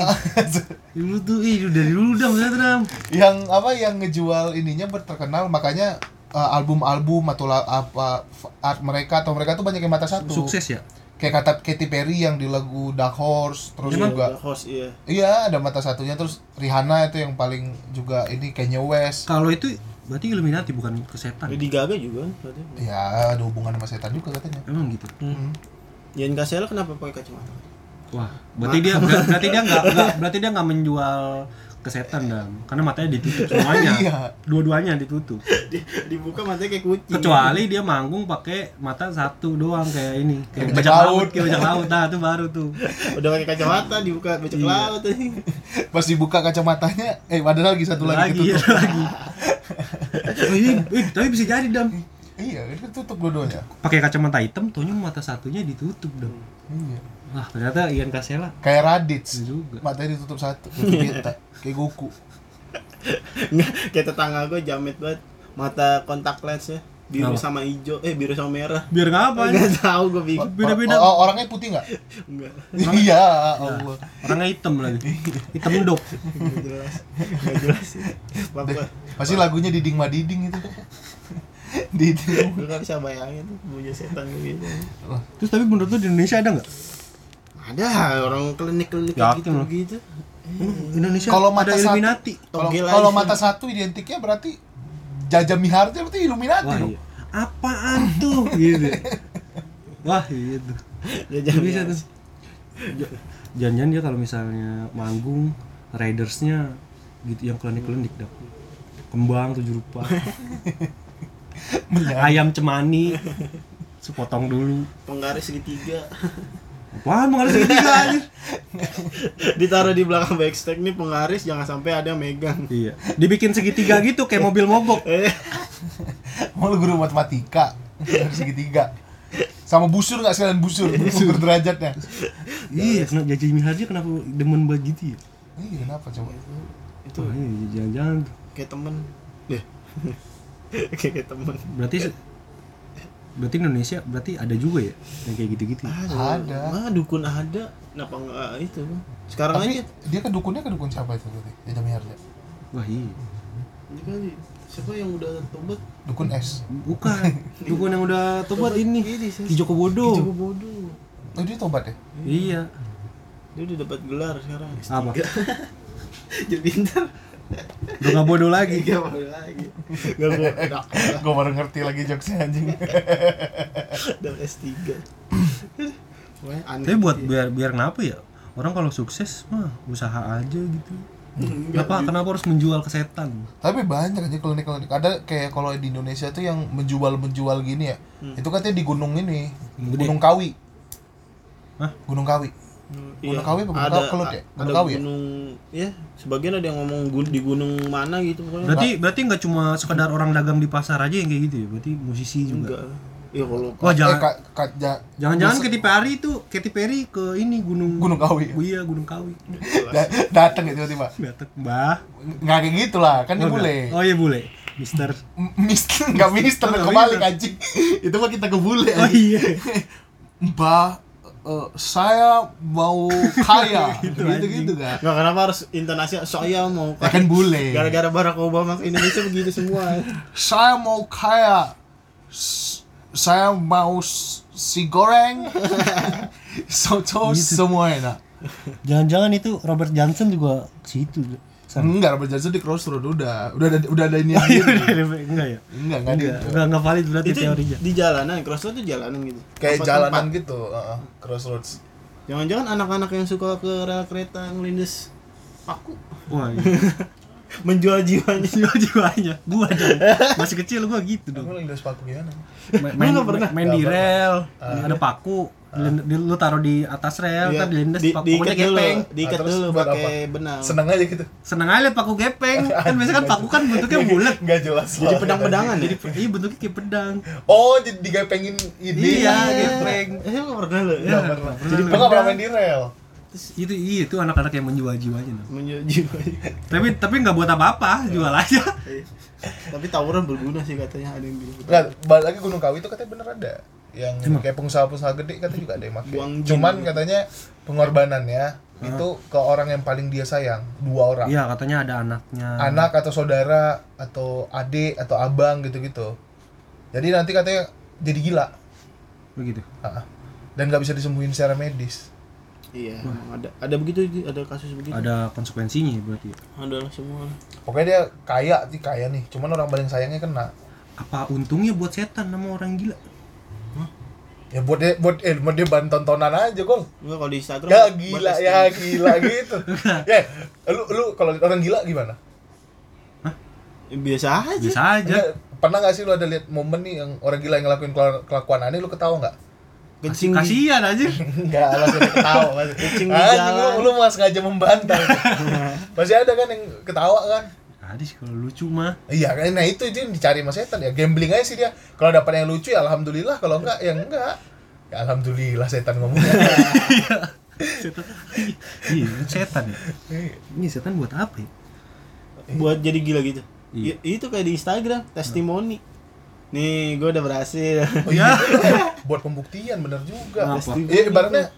Speaker 4: Dulu tuh ih dari dulu dah maksudnya tuh, Dam.
Speaker 3: yang apa yang ngejual ininya berterkenal makanya eh, album-album atau la- apa f- art mereka atau mereka tuh banyak yang mata satu
Speaker 4: Sukses ya.
Speaker 3: kayak kata Katy Perry yang di lagu Dark Horse terus
Speaker 4: Emang?
Speaker 3: juga
Speaker 5: host iya.
Speaker 3: iya ada mata satunya terus Rihanna itu yang paling juga ini Kanye West
Speaker 4: Kalau itu berarti Illuminati bukan kesetan.
Speaker 5: Lady Gaga juga katanya.
Speaker 3: ya ada hubungan sama setan juga katanya
Speaker 4: Emang gitu.
Speaker 5: Yan Kasela kenapa pakai kacamata?
Speaker 4: Wah, berarti dia ber- berarti dia nggak nggak- berarti dia nggak menjual kesetan Dam. Karena matanya ditutup semuanya.
Speaker 3: Iya.
Speaker 4: Dua-duanya ditutup.
Speaker 5: Iya. Dibuka matanya kayak kucing.
Speaker 4: kecuali dia manggung pakai mata satu doang kayak ini kayak
Speaker 3: Kayak
Speaker 4: bajak
Speaker 3: bajak
Speaker 4: laut,
Speaker 3: laut.
Speaker 4: kayak bajak laut nah itu baru tuh
Speaker 5: Udah pakai kacamata dibuka baca
Speaker 4: Iya.
Speaker 5: laut tadi.
Speaker 3: pas dibuka kacamatanya eh ada lagi satu lagi,
Speaker 4: lagi
Speaker 3: tutup
Speaker 4: ada lagi Oh, ini, eh, tapi bisa jadi dam
Speaker 3: iya itu tutup dua-duanya
Speaker 4: pakai kacamata hitam taunya mata satunya ditutup dam
Speaker 3: iya
Speaker 4: wah ternyata Ian Kasela
Speaker 3: kayak Raditz
Speaker 4: Iya juga
Speaker 3: matanya ditutup satu kayak Vegeta, kayak Goku
Speaker 5: Nggak, kayak tetangga gue jamet banget mata kontak lensnya biru
Speaker 4: Kenapa?
Speaker 5: sama hijau eh biru sama merah
Speaker 4: biar ngapain
Speaker 5: nggak tahu gue bingung
Speaker 4: Beda-beda.
Speaker 3: O- o- oh, orangnya putih nggak
Speaker 5: nggak
Speaker 3: iya Allah
Speaker 4: orangnya hitam lagi hitam dok
Speaker 5: nggak jelas nggak jelas Maaf, gue
Speaker 3: pasti lagunya diding madiding itu diding
Speaker 5: gue nggak bisa bayangin tuh punya setan kayak gitu
Speaker 4: terus tapi menurut lu di Indonesia ada nggak
Speaker 5: ada orang klinik klinik
Speaker 4: Yakin
Speaker 5: gitu
Speaker 4: lu?
Speaker 5: gitu
Speaker 4: Indonesia
Speaker 3: Kalau mata
Speaker 4: ada
Speaker 3: satu-
Speaker 4: Illuminati
Speaker 3: kalau
Speaker 5: Togel
Speaker 4: iya.
Speaker 3: kalau
Speaker 5: aja.
Speaker 3: mata satu identiknya berarti Jaja Miharja berarti Illuminati
Speaker 4: wah
Speaker 3: dong
Speaker 4: iya apaan tuh gitu wah gitu
Speaker 5: ya jangan
Speaker 4: bisa tuh J- jangan-jangan dia kalau misalnya manggung ridersnya gitu yang klinik-klinik dah kembang tujuh rupa ayam cemani sepotong dulu
Speaker 5: penggaris segitiga
Speaker 4: wah emang ada segitiga anjir
Speaker 5: ditaruh di belakang backstage nih penggaris jangan sampai ada yang megang
Speaker 4: iya dibikin segitiga gitu kayak mobil mogok
Speaker 5: eh
Speaker 3: mau lu guru matematika dari segitiga sama busur nggak sekalian busur ukur derajatnya
Speaker 4: iya kenapa jadi Miharja kenapa demen banget gitu ya
Speaker 3: iya kenapa coba
Speaker 4: itu jangan-jangan Ah, iya, tuh.
Speaker 5: kayak temen deh kayak temen
Speaker 4: berarti se- berarti Indonesia berarti ada juga ya yang kayak gitu-gitu
Speaker 5: Ah.
Speaker 3: Ada.
Speaker 5: Mah dukun ada. Kenapa enggak itu? Sekarang
Speaker 3: tapi
Speaker 5: aja.
Speaker 3: dia ke dukunnya ke dukun siapa itu berarti Jaja Miharja
Speaker 4: wah iya
Speaker 5: Ini kan siapa yang udah tobat?
Speaker 3: dukun
Speaker 4: Hmm.
Speaker 3: es
Speaker 4: Bukan. Dukun yang udah tobat ini. Ki Joko Bodo.
Speaker 5: Joko bodoh.
Speaker 3: oh dia tobat ya
Speaker 4: Iya.
Speaker 5: Dia udah dapat gelar sekarang.
Speaker 4: Apa?
Speaker 5: Jadi pintar.
Speaker 4: Udah nggak bodoh lagi.
Speaker 5: Gak mau lagi. Gak mau. Udah-
Speaker 4: Iya.
Speaker 3: gue baru ngerti lagi jokesnya anjing
Speaker 5: Udah S3. Wah, aneh.
Speaker 4: Tapi buat biar biar kenapa ya? Orang kalau sukses mah usaha aja gitu. Kenapa kenapa harus menjual ke setan?
Speaker 3: Tapi banyak aja klinik-klinik. Ada kayak kalau di Indonesia tuh yang menjual-menjual gini ya. Itu katanya di gunung ini,
Speaker 4: Hmm. Gede.
Speaker 3: Gunung Kawi.
Speaker 4: Hah?
Speaker 3: Gunung Kawi.
Speaker 5: Iya,
Speaker 3: Kawi apa Gunung
Speaker 5: ada-
Speaker 3: Kelut ya? Gunung
Speaker 5: Ada
Speaker 3: Kawi ya?
Speaker 5: gunung, ya? Sebagian ada yang ngomong gun- di gunung mana gitu pokoknya.
Speaker 4: Berarti berarti nggak cuma sekedar orang dagang di pasar aja yang kayak gitu ya. Berarti musisi juga.
Speaker 5: enggak. Iya kalau
Speaker 4: Wah,
Speaker 3: Eh,
Speaker 4: jangan
Speaker 3: Ka- Ka- Ja-
Speaker 4: jangan-jangan Katy Perry itu Katy Perry ke ini Gunung
Speaker 3: Gunung Kawi.
Speaker 4: Iya, Gunung Kawi.
Speaker 3: Da- dateng ya tiba-tiba.
Speaker 4: Batak, Mbah.
Speaker 3: Nggak kayak gitu lah, kan dia
Speaker 4: Oh,
Speaker 3: bule.
Speaker 4: enggak. Oh iya bule. Mister.
Speaker 3: M- Mister, nggak mister,
Speaker 4: Nggak
Speaker 3: kebalik
Speaker 4: mister.
Speaker 3: anjing. Itu mah kita ke bule.
Speaker 4: Oh
Speaker 3: anjing.
Speaker 4: iya.
Speaker 3: Mbak, eh, saya mau kaya.
Speaker 4: Gitu,
Speaker 3: Gitu-gitu kan.
Speaker 5: Nggak, kenapa harus intonasi soalnya mau
Speaker 3: Ya kan bule.
Speaker 5: gara-gara Barack Obama ke Indonesia begitu semua.
Speaker 3: saya mau kaya S- saya mau s- si goreng soto semua enak
Speaker 7: Jangan-jangan itu Robert Johnson juga ke situ.
Speaker 3: enggak Robert Johnson di crossroad udah udah ada, udah ada ini
Speaker 4: Udah, udah, enggak ya.
Speaker 3: enggak enggak ada itu.
Speaker 4: Oh, iya. Enggak enggak valid berarti
Speaker 5: itu
Speaker 4: teorinya.
Speaker 5: di jalanan, crossroad tuh jalanan gitu.
Speaker 3: kayak
Speaker 5: Apa
Speaker 3: jalanan
Speaker 5: tempat?
Speaker 3: gitu uh-uh, crossroads
Speaker 5: Jangan-jangan anak-anak yang suka ke rel kereta ngelindes paku
Speaker 4: Wah, iya.
Speaker 5: menjual jiwanya. Iya.
Speaker 4: jiwa jiwanya. Gua dong. Masih kecil gua gitu dong.
Speaker 3: Emang lindas paku gimana?
Speaker 4: Ma- main,
Speaker 5: nggak pernah?
Speaker 4: ma- main di
Speaker 3: Nggak
Speaker 4: rel ada paku dilin- di- lu taruh di atas rel
Speaker 5: Iya,
Speaker 4: ntar dilindes
Speaker 5: di-
Speaker 4: paku
Speaker 5: diikat
Speaker 4: pokoknya
Speaker 5: dulu,
Speaker 4: gepeng
Speaker 5: diikat
Speaker 3: Ah, terus
Speaker 5: dulu
Speaker 3: buat
Speaker 5: pakai benang.
Speaker 3: Seneng aja gitu.
Speaker 4: seneng aja liat paku gepeng kan biasanya kan paku kan bentuknya
Speaker 3: Iya.
Speaker 4: bulat
Speaker 3: Enggak jelas.
Speaker 5: Jadi
Speaker 3: lah.
Speaker 5: pedang-pedangan ya.
Speaker 4: jadi iya bentuknya kayak pedang
Speaker 3: Oh, jadi digepengin ini.
Speaker 4: iya gepeng
Speaker 5: Eh, nggak pernah lo.
Speaker 3: Nggak Iya, pernah. Jadi gua nggak pernah main di rel.
Speaker 4: itu iya itu anak-anak yang menjual jiwanya Nam.
Speaker 5: Menjual jiwanya.
Speaker 4: tapi tapi nggak buat apa-apa jual aja
Speaker 5: Iya. Tapi tawuran berguna sih katanya ada yang bilang.
Speaker 3: Enggak, balik lagi Gunung Kawi itu katanya bener ada. Yang kayak pengusaha-pengusaha gede katanya juga ada yang make.
Speaker 5: Buang jin.
Speaker 3: Cuman katanya pengorbanannya itu ke orang yang paling dia sayang, dua orang.
Speaker 4: iya katanya ada anaknya
Speaker 3: Anak atau saudara atau adik atau abang gitu-gitu. Jadi nanti katanya jadi gila.
Speaker 4: begitu
Speaker 3: Ah. Dan nggak bisa disembuhin secara medis.
Speaker 5: Iya, emang ada ada begitu Ji. ada kasus begitu.
Speaker 4: ada konsekuensinya berarti
Speaker 5: Ada lah semua.
Speaker 3: Pokoknya dia kaya, sih kaya nih. Cuman orang paling sayangnya kena.
Speaker 4: apa untungnya buat setan sama orang gila
Speaker 3: Ya buat dia, buat eh buat dia bahan tontonan aja, Gol.
Speaker 5: Enggak kalau di Instagram.
Speaker 3: Ya
Speaker 5: buat
Speaker 3: gila,
Speaker 5: STM.
Speaker 3: ya gila gitu. ya, lu lu kalau liat orang gila gimana?
Speaker 5: Ya, Biasa aja.
Speaker 4: biasa aja
Speaker 3: Enggak, pernah gak sih lu ada lihat momen nih yang orang gila yang ngelakuin kela- kelakuan aneh lu ketawa nggak?
Speaker 5: Kencing di-
Speaker 4: kasihan aja
Speaker 3: Enggak, alasannya ketawa masih.
Speaker 5: Kencing di
Speaker 3: Anjing lu,
Speaker 5: jalan.
Speaker 3: lu mas sengaja membantah. Masih ada kan yang ketawa kan?
Speaker 4: ada sih kalau lucu mah
Speaker 3: Iya, kan? nah itu itu yang dicari Mas Setan ya. Gambling aja sih dia. Kalau dapat yang lucu ya alhamdulillah, kalau enggak ya enggak. Ya alhamdulillah setan ngomongnya.
Speaker 4: iya setan ya ini setan buat apa ya?
Speaker 5: buat jadi gila gitu.
Speaker 4: Iya.
Speaker 5: Ya, itu kayak di Instagram, testimoni. Nih, gue udah berhasil.
Speaker 3: Oh iya.
Speaker 4: Ya.
Speaker 3: Buat pembuktian bener juga.
Speaker 4: Apa?
Speaker 3: Iya, ibaratnya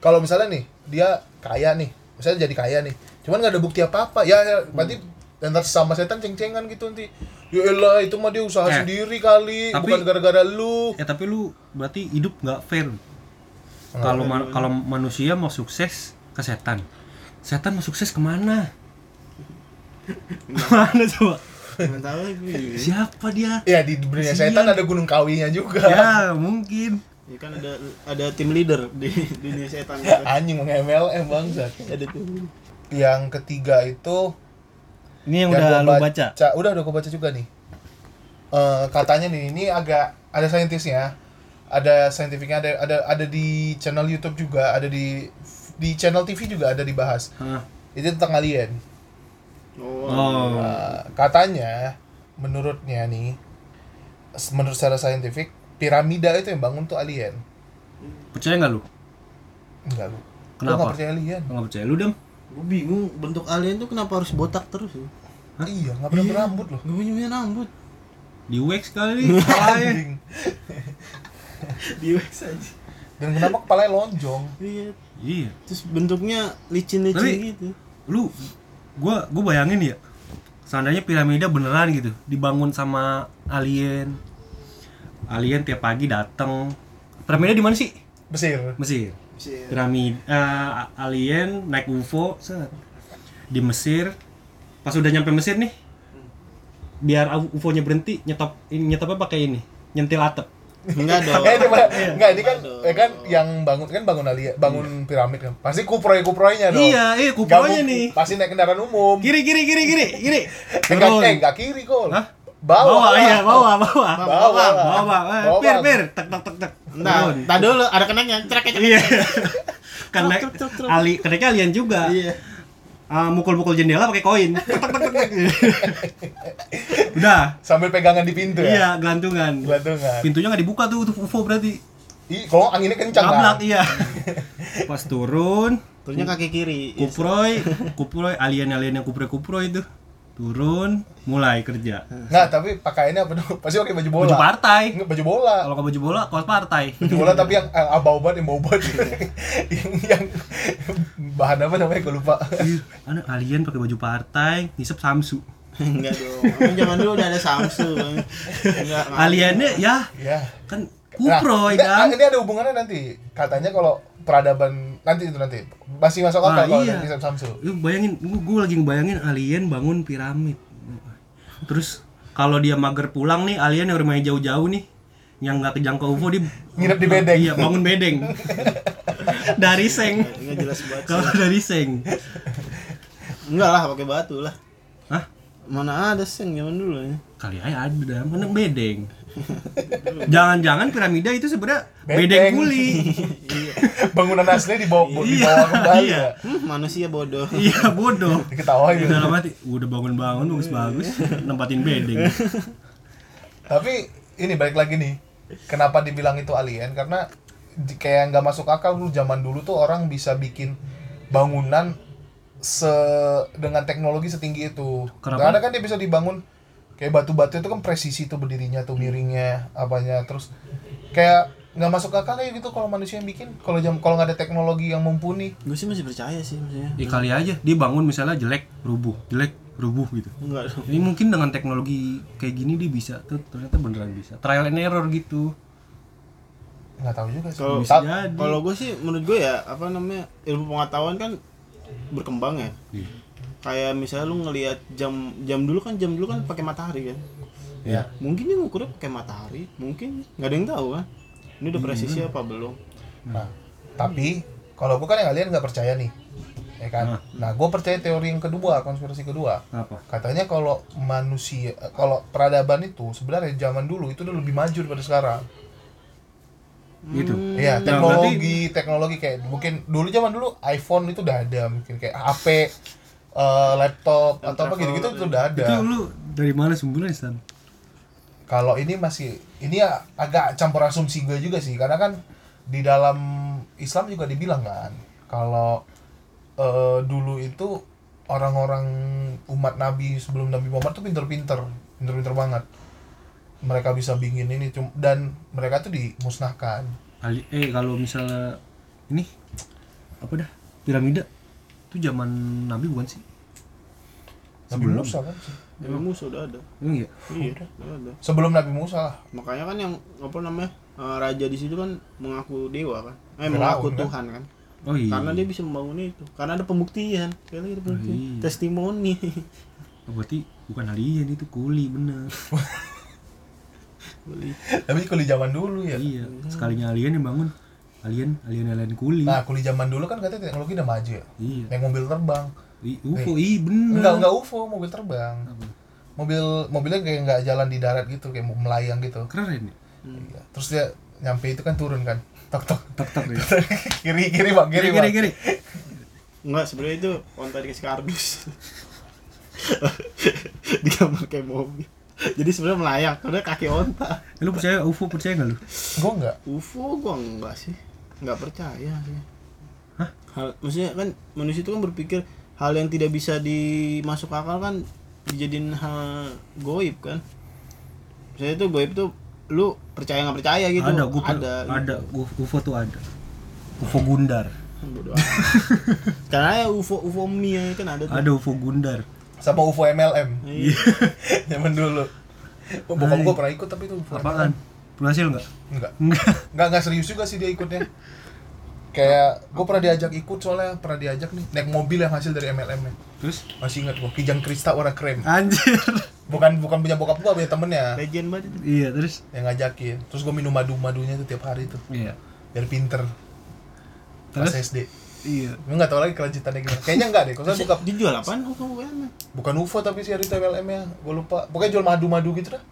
Speaker 3: kalau misalnya nih dia kaya nih, misalnya jadi kaya nih, cuman nggak ada bukti apa apa, ya, ya berarti
Speaker 4: Hmm.
Speaker 3: ntar sama setan ceng-cengan gitu nanti. Ya elah itu mah dia usaha
Speaker 4: Eh,
Speaker 3: sendiri kali,
Speaker 4: tapi-
Speaker 3: bukan gara-gara lu.
Speaker 4: Eh tapi lu berarti hidup nggak fair. Kalau ma- kalau manusia mau sukses ke setan, setan mau sukses kemana? Kemana coba?
Speaker 5: Enggak tahu gue.
Speaker 4: Siapa dia?
Speaker 3: Ya di dunia
Speaker 4: Kasihan.
Speaker 3: setan ada gunung kawinya juga.
Speaker 4: Ya mungkin.
Speaker 5: Ya kan ada ada tim leader di di dunia setan gitu.
Speaker 3: Anjing meng MLM bangsat.
Speaker 5: Ada tim.
Speaker 3: Yang ketiga itu
Speaker 7: Ini yang
Speaker 3: gua
Speaker 7: udah lu baca.
Speaker 3: Udah udah gue baca juga nih. Eh, katanya nih ini agak ada saintisnya, ada saintifiknya, ada ada ada di channel YouTube juga, ada di di channel TV juga ada dibahas.
Speaker 4: Hah.
Speaker 3: Itu tentang alien.
Speaker 5: Oh.
Speaker 4: Oh.
Speaker 3: Eh, katanya menurutnya nih s- menurut secara saintifik piramida itu yang bangun tuh alien.
Speaker 4: Percaya nggak lu?
Speaker 3: Enggak lu. Lu
Speaker 4: Kenapa?
Speaker 3: nggak percaya alien?
Speaker 4: Nggak percaya lu dem?
Speaker 5: Gue bingung bentuk alien tuh kenapa harus botak terus ya?
Speaker 3: Iya, nggak pernah berambut loh.
Speaker 5: Gue punya punya rambut.
Speaker 4: Di wax kali. kepalanya.
Speaker 3: Anjing.
Speaker 5: Di wax aja.
Speaker 3: Dan kenapa kepalanya lonjong?
Speaker 5: Iya.
Speaker 4: iya.
Speaker 5: Terus bentuknya licin-licin
Speaker 4: Tapi-
Speaker 5: gitu.
Speaker 4: Lu, gua gua bayangin ya. Seandainya piramida beneran gitu, dibangun sama alien. Alien tiap pagi datang. Piramida di mana sih?
Speaker 3: Mesir.
Speaker 4: Mesir. piramid eh, alien naik UFO set. di Mesir pas udah nyampe Mesir nih biar UFO-nya berhenti nyetop ini nyetopnya pakai ini nyentil atap
Speaker 5: Enggak dong.
Speaker 3: Makanya coba,
Speaker 4: Iya.
Speaker 3: enggak ini kan, ya kan yang bangun kan bangun alia, bangun piramid kan. Pasti kuproy kuproynya dong.
Speaker 4: Iya, iya, kuproynya nih.
Speaker 3: Pasti naik kendaraan umum.
Speaker 4: kiri kiri kiri kiri kiri
Speaker 3: Enggak,
Speaker 4: turun
Speaker 3: eh, enggak kiri kol.
Speaker 4: Hah?
Speaker 3: Bawa,
Speaker 4: bawa
Speaker 3: lah.
Speaker 4: iya bawa bawa
Speaker 3: Bawa,
Speaker 4: bawa
Speaker 3: lah.
Speaker 4: bawa Eh,
Speaker 3: Bawa,
Speaker 4: pir
Speaker 3: Bang.
Speaker 4: pir tek tek tek tek
Speaker 5: Nah,
Speaker 4: Turun.
Speaker 5: tak dulu ada kenanya, cerak cerak.
Speaker 4: iya karena ali kenaiknya alien juga
Speaker 5: Iya.
Speaker 4: Ah, mukul-mukul jendela pakai koin Tek, tek, tek, tek. udah
Speaker 3: Sambil pegangan di pintu ya.
Speaker 4: iya gelantungan
Speaker 3: Gelantungan.
Speaker 4: pintunya nggak dibuka tuh untuk UFO berarti
Speaker 3: Ih, kalau anginnya kencang kan.
Speaker 4: Ngablak iya. Pas turun,
Speaker 5: Turunnya kaki kiri.
Speaker 3: Iya,
Speaker 4: kuproy, kuproy alien-alien yang kuproy-kuproy itu. Turun, mulai kerja.
Speaker 3: Nggak, tapi pakaiannya apa dong? Pasti pakai baju bola.
Speaker 4: Baju partai.
Speaker 3: Nggak, baju bola.
Speaker 4: Kalau nggak baju bola, kaos partai.
Speaker 3: Baju bola tapi yang eh, abau-abau yang bau banget. yang yang bahan apa namanya gue lupa.
Speaker 4: Ih, Anu alien pakai baju partai, ngisep Samsu.
Speaker 5: Enggak dong. Emang zaman dulu udah ada Samsung. Enggak.
Speaker 3: Nah,
Speaker 5: nggak.
Speaker 4: Aliennya ya
Speaker 3: Ya.
Speaker 4: kan
Speaker 3: Nah,
Speaker 4: kuproy kan? dan
Speaker 3: ini- Ini ada hubungannya nanti. Katanya kalau peradaban nanti itu nanti masih masuk akal
Speaker 4: Nah,
Speaker 3: kalau
Speaker 4: iya.
Speaker 3: dari Sam Samsu.
Speaker 4: Lu bayangin, gua, gua lagi ngebayangin alien bangun piramid. Terus kalau dia mager pulang nih, alien yang rumahnya jauh-jauh nih, yang nggak kejangkau UFO dia
Speaker 3: Nginep di bedeng.
Speaker 4: Iya, bangun bedeng. dari seng.
Speaker 5: Enggak jelas banget.
Speaker 4: Kalau dari seng.
Speaker 5: Enggak lah, pakai batu lah.
Speaker 4: Hah?
Speaker 5: Mana ada seng zaman dulu ya.
Speaker 4: Kali aja ada, mana bedeng. Jangan-jangan piramida itu sebenarnya bedeng,
Speaker 3: Bedeng.
Speaker 4: kuli.
Speaker 3: Bangunan asli dibawa
Speaker 4: Iya,
Speaker 3: dibawa kembali.
Speaker 4: iya.
Speaker 3: ya.
Speaker 5: Hmm, manusia bodoh.
Speaker 4: iya, bodoh.
Speaker 3: Diketawain.
Speaker 4: Di
Speaker 5: Iya.
Speaker 4: dalam hati, udah bangun-bangun bagus-bagus, nempatin bedeng.
Speaker 3: Tapi ini balik lagi nih. Kenapa dibilang itu alien? Karena di- kayak nggak masuk akal dulu zaman dulu tuh orang bisa bikin bangunan se dengan teknologi setinggi itu.
Speaker 4: Kenapa?
Speaker 3: Karena kan dia bisa dibangun kayak batu-batu itu kan presisi tuh berdirinya tuh miringnya apanya terus kayak nggak masuk akal kayak gitu kalau manusia yang bikin kalau jam kalau nggak ada teknologi yang mumpuni
Speaker 5: Gue sih masih percaya sih maksudnya.
Speaker 4: Ya kali aja dia bangun misalnya jelek, rubuh, jelek, rubuh gitu.
Speaker 5: Enggak dong.
Speaker 4: Ini mungkin dengan teknologi kayak gini dia bisa tuh ternyata beneran bisa. Trial and error gitu.
Speaker 3: nggak tahu juga sih.
Speaker 5: Kalau-
Speaker 3: Ta-
Speaker 4: Jadi
Speaker 5: Kalau gue sih menurut gue ya apa namanya ilmu pengetahuan kan berkembang ya.
Speaker 4: Iya.
Speaker 5: Kayak misalnya lu ngelihat jam jam dulu kan jam dulu kan pakai matahari kan.
Speaker 4: Iya.
Speaker 5: Mungkin dia ngukurnya pakai matahari, mungkin nggak ada yang tahu kan. Ini udah presisi apa belum?
Speaker 3: Nah, tapi kalau gue kan yang kalian nggak percaya nih, ya kan? Nah, gue percaya teori yang kedua, konspirasi kedua.
Speaker 4: apa?
Speaker 3: Katanya kalau manusia, kalau peradaban itu sebenarnya zaman dulu itu udah lebih maju daripada sekarang.
Speaker 4: Gitu.
Speaker 5: Hmm.
Speaker 4: Nah,
Speaker 3: Iya, teknologi, teknologi kayak mungkin dulu zaman dulu iPhone itu udah ada, mungkin kayak HP, eh, laptop atau apa gitu-gitu itu udah ada.
Speaker 4: Itu lu dari mana sumbernya, Stan?
Speaker 3: Kalau ini masih ini ya agak campur asumsi gue juga sih karena kan di dalam Islam juga dibilang kan kalau eh, dulu itu orang-orang umat Nabi sebelum Nabi Muhammad tuh pinter-pinter, pinter-pinter banget. Mereka bisa bikin ini cum- dan mereka tuh dimusnahkan.
Speaker 4: Ali eh kalau misalnya ini apa dah? Piramida. Itu zaman Nabi bukan sih?
Speaker 3: Nabi
Speaker 4: Sebelum.
Speaker 3: Musa kan? sih.
Speaker 5: Ilmu sudah ada.
Speaker 4: Emang iya.
Speaker 5: Iya, udah ada.
Speaker 3: Sebelum Nabi Musa lah.
Speaker 5: Makanya kan yang apa namanya eh, raja di situ kan mengaku dewa kan, eh
Speaker 3: Firaun,
Speaker 5: mengaku
Speaker 3: kan?
Speaker 5: Tuhan kan.
Speaker 4: Oh iya.
Speaker 5: Karena dia bisa membangun itu. Karena ada pembuktian. Karena ada pembuktian.
Speaker 4: Iya.
Speaker 5: Testimoni.
Speaker 4: Oh, berarti bukan alien itu kuli bener.
Speaker 3: Tapi kuli zaman dulu ya.
Speaker 4: iya. Sekalinya alien yang bangun. Alien, alien alien kuli.
Speaker 3: Nah, kuli zaman dulu kan katanya teknologi udah maju ya.
Speaker 4: Iya.
Speaker 3: Naik mobil terbang.
Speaker 4: Ih, UFO, ih bener.
Speaker 3: Enggak, enggak UFO, mobil terbang. Mobil mobilnya kayak nggak jalan di darat gitu, kayak mau melayang gitu.
Speaker 4: Keren ya.
Speaker 3: Iya. Terus dia nyampe itu kan turun kan. Tok tok.
Speaker 4: Tek tek ya.
Speaker 3: kiri kiri bang
Speaker 4: Kiri
Speaker 3: kiri, bang.
Speaker 4: kiri kiri.
Speaker 5: Enggak, sebenarnya itu onta dikasih kardus. Digambar kayak mobil. Jadi sebenarnya melayang karena kaki onta.
Speaker 4: Eh, Lu percaya UFO percaya nggak lu?
Speaker 3: Gua enggak.
Speaker 5: UFO gua enggak sih. Enggak percaya sih. Hal, maksudnya kan manusia itu kan berpikir hal yang tidak bisa dimasuk akal kan dijadiin hal goib kan. Misalnya itu goib tuh lu percaya nggak percaya gitu.
Speaker 4: ada, gua per-
Speaker 5: ada.
Speaker 4: ada. UFO tuh ada. UFO Gundar.
Speaker 5: Bodoh amat. Karena ya UFO UFO Mia kan ada tuh.
Speaker 4: Ada UFO Gundar.
Speaker 3: Sama UFO MLM
Speaker 5: Iya.
Speaker 3: zaman dulu. Oh, Bokap gua pernah ikut tapi itu UFO.
Speaker 4: Apaan? Berhasil nggak?
Speaker 3: Enggak.
Speaker 4: Enggak.
Speaker 3: Enggak enggak serius juga sih dia ikutnya. Kayak gua pernah diajak ikut soalnya pernah diajak nih naik mobil yang hasil dari MLM nya.
Speaker 4: Terus?
Speaker 3: Masih ingat gua Kijang Krista warna krem.
Speaker 4: Anjir.
Speaker 3: Bukan bukan punya bokap gua, punya temennya
Speaker 5: Legend banget itu.
Speaker 4: iya, terus.
Speaker 3: yang ngajakin. Terus gua minum madu-madunya tuh tiap hari tuh.
Speaker 4: Iya.
Speaker 3: Biar pinter. Pas
Speaker 4: Terus?
Speaker 3: SD.
Speaker 4: Iya.
Speaker 3: Gue nggak tahu lagi kelanjutannya gimana. Kayaknya enggak deh. Kalau saya buka
Speaker 5: Dijual apaan UFO UFO?
Speaker 3: bukan UFO tapi si Arita MLM nya gue ya. lupa pokoknya
Speaker 4: Iya,
Speaker 3: jual
Speaker 4: oh. Hmm.
Speaker 3: madu-madu gitu dah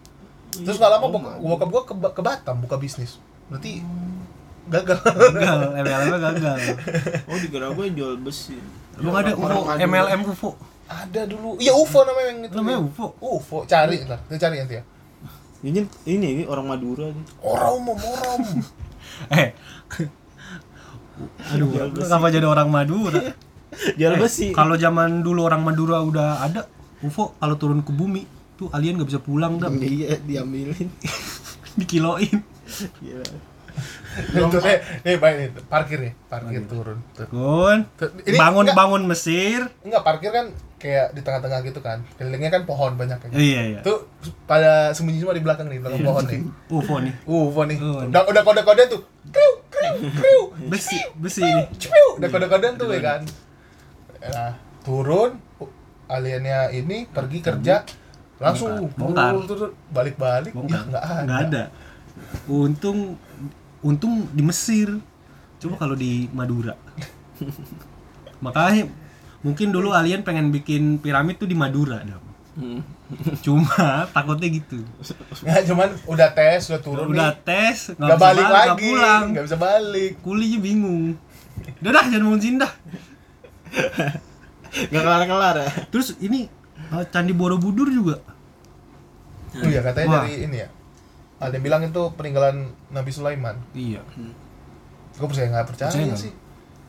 Speaker 3: terus nggak lama bok- bokap gue ke, ke Batam buka bisnis berarti gagal
Speaker 4: gagal MLM -nya gagal
Speaker 5: oh di gerak gue jual besi
Speaker 4: belum ada UFO
Speaker 5: Orang-
Speaker 4: MLM UFO
Speaker 3: ada dulu iya UFO namanya yang itu
Speaker 4: Namanya UFO?
Speaker 3: UFO cari lah kita cari nanti ya
Speaker 5: ini ini orang Madura nih
Speaker 3: orang mau orang
Speaker 4: eh aduh kenapa jadi orang Madura Eh,
Speaker 5: jual besi
Speaker 4: kalau zaman dulu orang Madura udah ada UFO kalau turun ke bumi tuh alien nggak bisa pulang dah
Speaker 5: iya diambilin
Speaker 4: dikiloin
Speaker 5: Gila.
Speaker 3: itu nih nih baik nih parkir nih parkir turun Tuh.
Speaker 4: Gun
Speaker 3: Tuh, ini
Speaker 4: bangun
Speaker 3: enggak-
Speaker 4: bangun Mesir
Speaker 3: Enggak, parkir kan kayak di tengah-tengah gitu kan. Kelilingnya kan pohon banyak kan.
Speaker 4: iya iya
Speaker 3: Tuh pada sembunyi semua di belakang nih, belakang pohon nih.
Speaker 4: UFO nih
Speaker 3: Uh, pohon nih.
Speaker 4: Pohon.
Speaker 3: Udah udah kode-kode tuh. Kriu, kriu, kriu.
Speaker 4: besi besi ini
Speaker 3: Cipiu, udah kode-kodean tuh ya kan. Nah, turun u- aliennya ini pergi kerja langsung
Speaker 4: Bongkar.
Speaker 3: turun, turun, balik-balik ya
Speaker 4: Bongkar.
Speaker 3: enggak ada.
Speaker 4: nggak ada untung untung di Mesir coba kalau di Madura makanya mungkin dulu alien pengen bikin piramid tuh di Madura Dam.
Speaker 3: Hmm.
Speaker 4: cuma takutnya gitu
Speaker 3: Nggak, cuman udah tes, udah turun
Speaker 4: udah
Speaker 3: nih.
Speaker 4: tes nggak
Speaker 3: Nggak
Speaker 4: bisa
Speaker 3: balik
Speaker 4: balik, nggak
Speaker 3: lagi,
Speaker 4: pulang
Speaker 3: nggak bisa balik.
Speaker 4: kulinya bingung udah dah jangan mau dah
Speaker 5: nggak kelar kelar ya
Speaker 4: terus ini eh, Candi Borobudur juga
Speaker 3: Tuh ya
Speaker 4: Wah.
Speaker 3: katanya dari ini ya. Ada yang bilang itu peninggalan Nabi Sulaiman.
Speaker 4: iya
Speaker 3: gue percaya nggak percaya,
Speaker 4: Percaya nggak?
Speaker 3: sih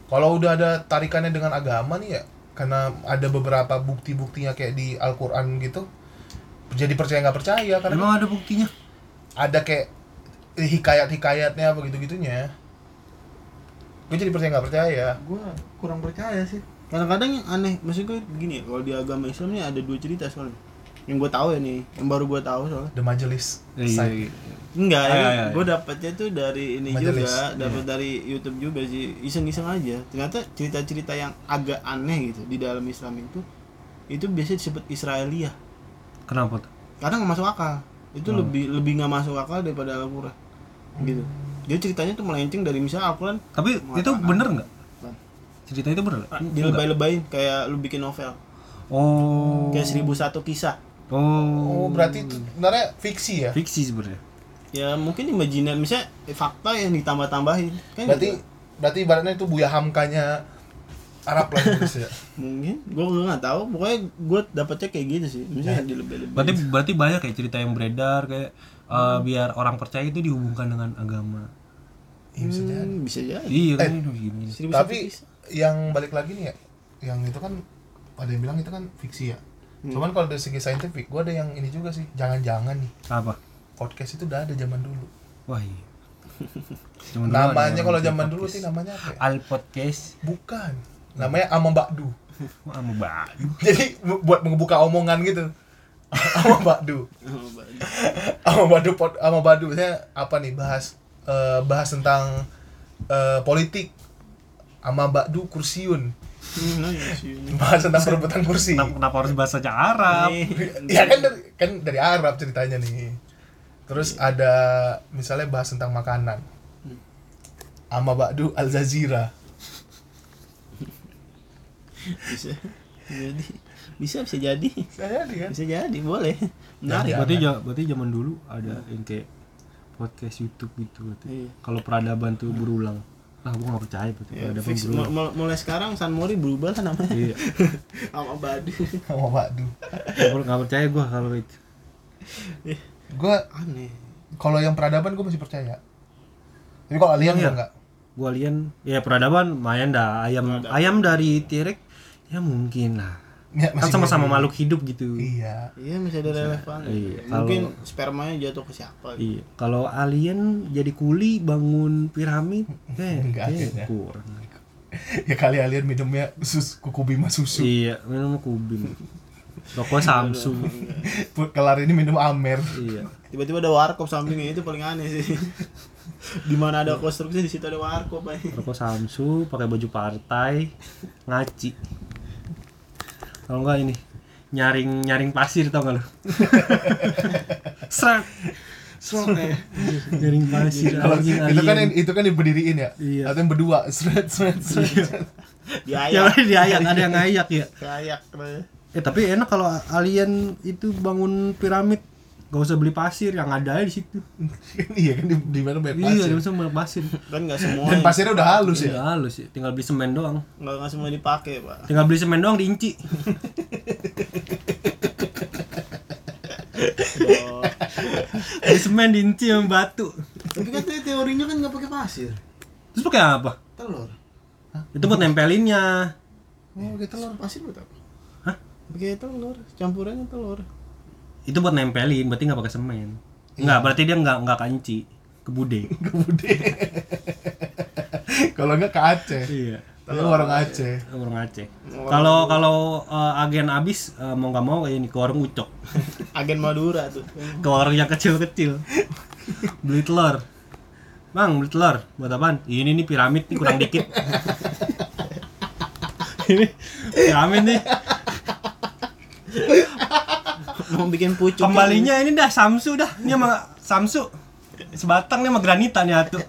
Speaker 3: kalau udah ada tarikannya dengan agama nih ya karena ada beberapa bukti-buktinya kayak di Al-Quran gitu jadi percaya nggak percaya karena
Speaker 4: emang ada buktinya
Speaker 3: ada kayak hikayat-hikayatnya begitu gitunya gue jadi percaya nggak percaya
Speaker 5: gue kurang percaya sih kadang-kadang yang aneh maksud gue begini ya, kalau di agama Islam nih ada dua cerita soalnya yang gue tahu ya nih yang baru gue tahu soalnya
Speaker 3: The Majelis Side.
Speaker 4: iya, iya.
Speaker 5: enggak
Speaker 4: Ah,
Speaker 5: ya,
Speaker 4: iya, iya.
Speaker 5: gue dapetnya tuh dari ini
Speaker 3: Majelis.
Speaker 5: juga dapat dari YouTube juga sih iseng-iseng aja ternyata cerita-cerita yang agak aneh gitu di dalam Islam itu itu biasanya disebut Israelia
Speaker 4: kenapa tuh
Speaker 5: karena nggak masuk akal itu
Speaker 4: Hmm.
Speaker 5: lebih lebih nggak masuk akal daripada Al-Quran gitu jadi ceritanya tuh melenceng dari misalnya Al-Quran
Speaker 4: tapi
Speaker 5: Muatan
Speaker 4: itu
Speaker 5: apa?
Speaker 4: bener nggak cerita itu bener nggak?
Speaker 5: dilebay-lebayin kayak lu bikin novel
Speaker 4: oh
Speaker 5: kayak 1001 kisah
Speaker 4: oh
Speaker 3: oh berarti itu sebenarnya fiksi ya
Speaker 4: fiksi sebenarnya
Speaker 5: ya mungkin imajiner misalnya eh, fakta yang ditambah-tambahin kan
Speaker 3: berarti
Speaker 5: gitu.
Speaker 3: berarti ibaratnya itu Buya Hamkanya Arab lah gitu ya
Speaker 5: mungkin gue nggak tahu pokoknya gue dapetnya kayak gitu sih misalnya di lebih
Speaker 4: berarti berarti banyak kayak cerita yang beredar kayak eh,
Speaker 3: Hmm.
Speaker 4: biar orang percaya itu dihubungkan dengan agama
Speaker 3: Iya, bisa
Speaker 4: Hmm.
Speaker 3: jadi.
Speaker 5: Hmm, bisa jadi
Speaker 4: iya kan
Speaker 3: Eh.
Speaker 4: ini gini
Speaker 5: seribu satu
Speaker 3: tapi
Speaker 5: kisah.
Speaker 3: yang balik lagi nih ya yang itu kan ada yang bilang itu kan fiksi ya
Speaker 4: Hmm.
Speaker 3: cuman kalau dari segi saintifik gue ada yang ini juga sih jangan-jangan nih
Speaker 4: apa
Speaker 3: podcast itu udah ada zaman dulu
Speaker 4: wah iya Cuman dulu
Speaker 3: namanya
Speaker 4: ada
Speaker 3: kalau
Speaker 4: orang
Speaker 3: zaman dulu
Speaker 4: podcast. Ah.
Speaker 3: sih namanya apa ya?
Speaker 4: al podcast
Speaker 3: bukan namanya ama bakdu
Speaker 4: Wah, anu mau badu.
Speaker 3: jadi bu- buat ngebuka omongan gitu ama bakdu
Speaker 5: Oh, bagus.
Speaker 3: ama bakdu pod, ama bakdu saya apa nih bahas eh, bahas tentang eh, politik ama bakdu kursiun
Speaker 5: Hmm, nah, iya sih, ini.
Speaker 3: bahas tentang perebutan kursi
Speaker 4: Kenapa, kenapa harus bahasa Arab?
Speaker 3: ya kan dari, kan dari Arab ceritanya nih terus
Speaker 4: Iya.
Speaker 3: ada misalnya bahas tentang makanan
Speaker 4: Hmm.
Speaker 3: ama bakdu al jazira
Speaker 5: bisa jadi bisa bisa jadi
Speaker 3: saya dia
Speaker 5: bisa jadi boleh menarik
Speaker 3: Jangan.
Speaker 4: Nah, Berarti ja- berarti zaman dulu ada yang kayak podcast YouTube gitu berarti.
Speaker 5: Iya.
Speaker 4: Kalau peradaban tuh berulang. Ah, gua nggak percaya berarti
Speaker 3: Iya,
Speaker 5: Ya,
Speaker 4: peradaban
Speaker 5: fix.
Speaker 4: berulang.
Speaker 5: Mul- mul- mulai sekarang San Mori berubah lah namanya
Speaker 4: Iya.
Speaker 5: sama Badu
Speaker 3: ama bakdu
Speaker 4: Nggak per- nggak percaya gua kalau itu.
Speaker 3: gue
Speaker 5: aneh
Speaker 3: kalau yang peradaban gue masih percaya tapi kalau alien
Speaker 4: Iya.
Speaker 3: gue enggak
Speaker 4: Gua lian ya peradaban lumayan dah ayam ayam dari T-Rex ya mungkin lah.
Speaker 3: Ya,
Speaker 4: Kan
Speaker 3: masih
Speaker 4: sama-sama
Speaker 3: jadi.
Speaker 4: makhluk hidup gitu.
Speaker 3: iya
Speaker 5: Iya masih ada relevan.
Speaker 4: Iya,
Speaker 5: Mungkin spermanya jatuh ke siapa? gitu.
Speaker 4: Iya. Kalau alien jadi kuli bangun piramid, eh, kayak
Speaker 3: Nggak
Speaker 4: kayak
Speaker 3: ada.
Speaker 4: kurang.
Speaker 3: ya kali alien minumnya sus kuku bima susu
Speaker 4: Iya, minum kubim. Rokok Samsung.
Speaker 3: Buat kelar ini minum amer
Speaker 4: iya.
Speaker 5: Tiba-tiba ada warkop sampingnya itu paling aneh sih. di mana ada konstruksi di situ ada warkop eh. aja.
Speaker 4: rokok Samsu, pakai baju partai, ngaci. Kalau enggak ini nyaring nyaring pasir tau gak lu? Serak. Serak. nyaring pasir
Speaker 3: eh. kalau
Speaker 4: Iya, anjing
Speaker 3: itu kan yang,
Speaker 4: alien.
Speaker 3: itu kan diberdiriin ya
Speaker 4: Iya.
Speaker 3: atau yang berdua seret seret seret
Speaker 4: Ya
Speaker 5: Diayak,
Speaker 4: di ayak ada yang ngayak ya.
Speaker 5: kayak
Speaker 4: Eh tapi enak kalau alien itu bangun piramid gak usah beli pasir yang ada aja di situ
Speaker 3: iya kan di, di mana banyak
Speaker 4: iya
Speaker 3: pasir
Speaker 4: gak usah beli pasir
Speaker 5: kan nggak semua
Speaker 3: dan pasirnya udah halus ya
Speaker 4: Iya, halus ya tinggal beli semen doang
Speaker 5: nggak nggak semua dipakai pak
Speaker 4: tinggal beli semen doang diinci
Speaker 5: Oh.
Speaker 4: beli semen diinci sama batu
Speaker 5: tapi katanya teorinya kan nggak pakai pasir
Speaker 4: terus pakai apa
Speaker 5: telur
Speaker 4: itu buat nempelinnya
Speaker 5: oh pakai telur pasir buat apa
Speaker 4: Hah?
Speaker 5: pakai telur campurannya telur
Speaker 4: itu buat nempelin berarti nggak pakai semen nggak berarti dia nggak nggak kanci kebude
Speaker 3: Bude. kalau enggak ke Aceh
Speaker 4: iya
Speaker 3: Dia warung Aceh
Speaker 4: orang Aceh kalau kalau eh, agen abis eh, mau nggak mau ini ke warung ucok
Speaker 5: agen Madura tuh
Speaker 4: ke warung yang kecil-kecil beli telur bang beli telur buat apaan ini nih piramid nih kurang dikit ini piramid nih
Speaker 5: mau bikin pucuk
Speaker 4: kembalinya ini dah samsu dah ini sama samsu sebatang nih sama granita nih atuh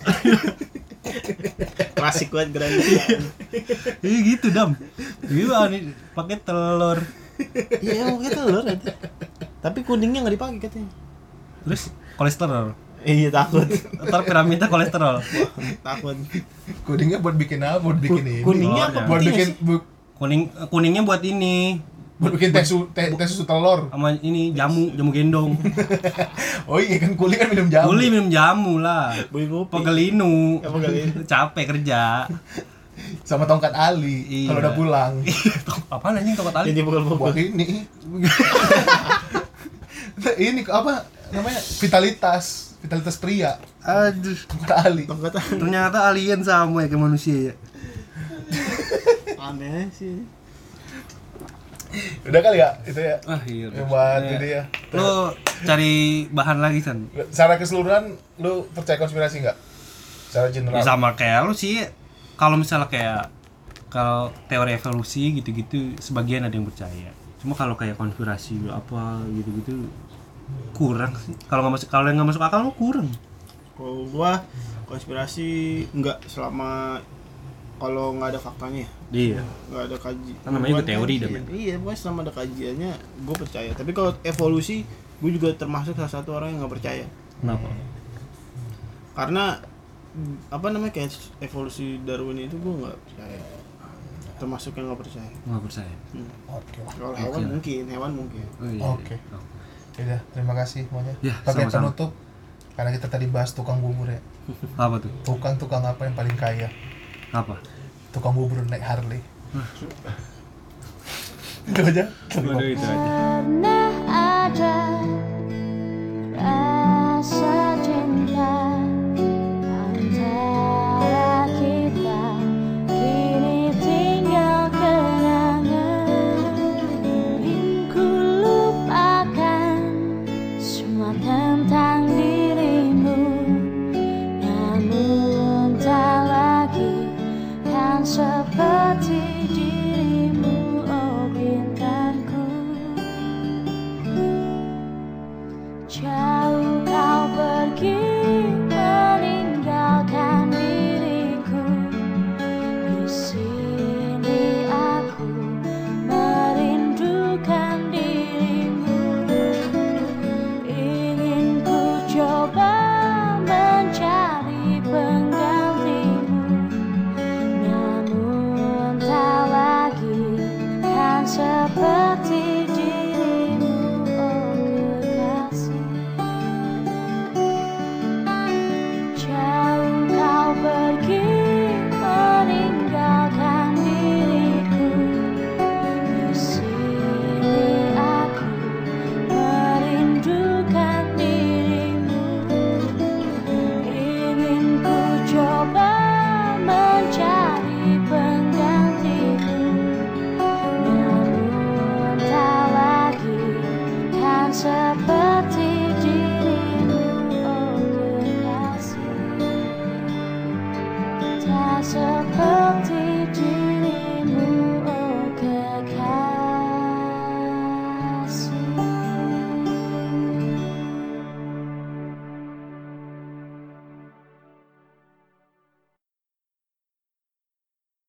Speaker 5: klasik banget granita
Speaker 4: iya gitu dam iya nih pakai telur
Speaker 5: iya emang pakai telur itu tapi kuningnya nggak dipakai katanya
Speaker 4: terus kolesterol
Speaker 5: iya takut
Speaker 4: ntar piramida kolesterol
Speaker 5: takut
Speaker 3: kuningnya buat bikin apa buat bikin ini
Speaker 5: kuningnya
Speaker 4: apa
Speaker 3: buat
Speaker 5: putihnya
Speaker 3: bikin bu-
Speaker 4: kuning kuningnya buat ini
Speaker 3: buat bikin teh, su- teh, teh susu telur
Speaker 4: sama ini jamu jamu gendong
Speaker 3: oh iya kan kuling kan minum jamu
Speaker 4: boleh minum jamu lah
Speaker 5: bui kopi
Speaker 4: pegelinu
Speaker 5: Ya, pegelinu.
Speaker 4: capek kerja
Speaker 3: sama tongkat Ali
Speaker 4: Iya.
Speaker 3: kalau udah pulang
Speaker 4: apa anjing toko tali
Speaker 5: jadi pukul pukul
Speaker 3: buat ini Nah, ini apa namanya vitalitas vitalitas pria
Speaker 4: aduh
Speaker 3: tongkat Ali
Speaker 5: tongkat
Speaker 4: ternyata alien sama ya kayak manusia ya
Speaker 5: aneh sih
Speaker 3: udah kali ya itu ya
Speaker 4: ah iya
Speaker 3: Ya, buat ini ya
Speaker 4: lo cari bahan lagi san
Speaker 3: secara keseluruhan lu percaya konspirasi nggak secara general
Speaker 4: Ya, sama kayak lo sih kalau misalnya kayak kalau teori evolusi gitu-gitu sebagian ada yang percaya cuma kalau kayak konspirasi apa gitu-gitu kurang sih kalau nggak masuk kalau yang nggak masuk akal lo kurang
Speaker 5: kalau gua konspirasi nggak selama kalau nggak ada faktanya ya.
Speaker 4: iya
Speaker 5: nggak ada kaji
Speaker 4: Kan namanya juga
Speaker 5: buatnya
Speaker 4: teori
Speaker 5: iya.
Speaker 4: dah, Ben.
Speaker 5: iya pokoknya selama ada kajiannya gue percaya tapi kalau evolusi gue juga termasuk salah satu orang yang nggak percaya
Speaker 4: kenapa
Speaker 5: karena mm, apa namanya kayak evolusi Darwin itu gue nggak percaya termasuk yang nggak percaya
Speaker 4: nggak percaya
Speaker 3: oke
Speaker 5: kalau hewan mungkin hewan mungkin
Speaker 4: oh, iya.
Speaker 3: oke Yaudah, terima kasih semuanya
Speaker 4: Ya,
Speaker 3: sebagai
Speaker 4: sama-sama.
Speaker 3: penutup karena kita tadi bahas tukang bubur ya
Speaker 4: apa tuh
Speaker 3: tukang tukang apa yang paling kaya
Speaker 4: apa
Speaker 3: tukang bubur naik Harley itu aja
Speaker 4: Waduh, itu aja
Speaker 8: Pernah ada rasa cinta antara kita, kini tinggal kenangan. Ingin ku lupakan semua tentang dirimu, namun tak lagi kan seperti dirimu, oh bintangku. Jauh kau pergi meninggalkan diriku Di sini aku merindukan dirimu Ingin ku coba mencari penggantimu namun tak lagi kan seperti dirimu oh kekasih Jauh kau pergi meninggalkan diriku Di sini aku merindukan dirimu Ingin ku coba mencari penggantimu Namun tak lagi kan seperti dirimu Oh kekasih Tak seperti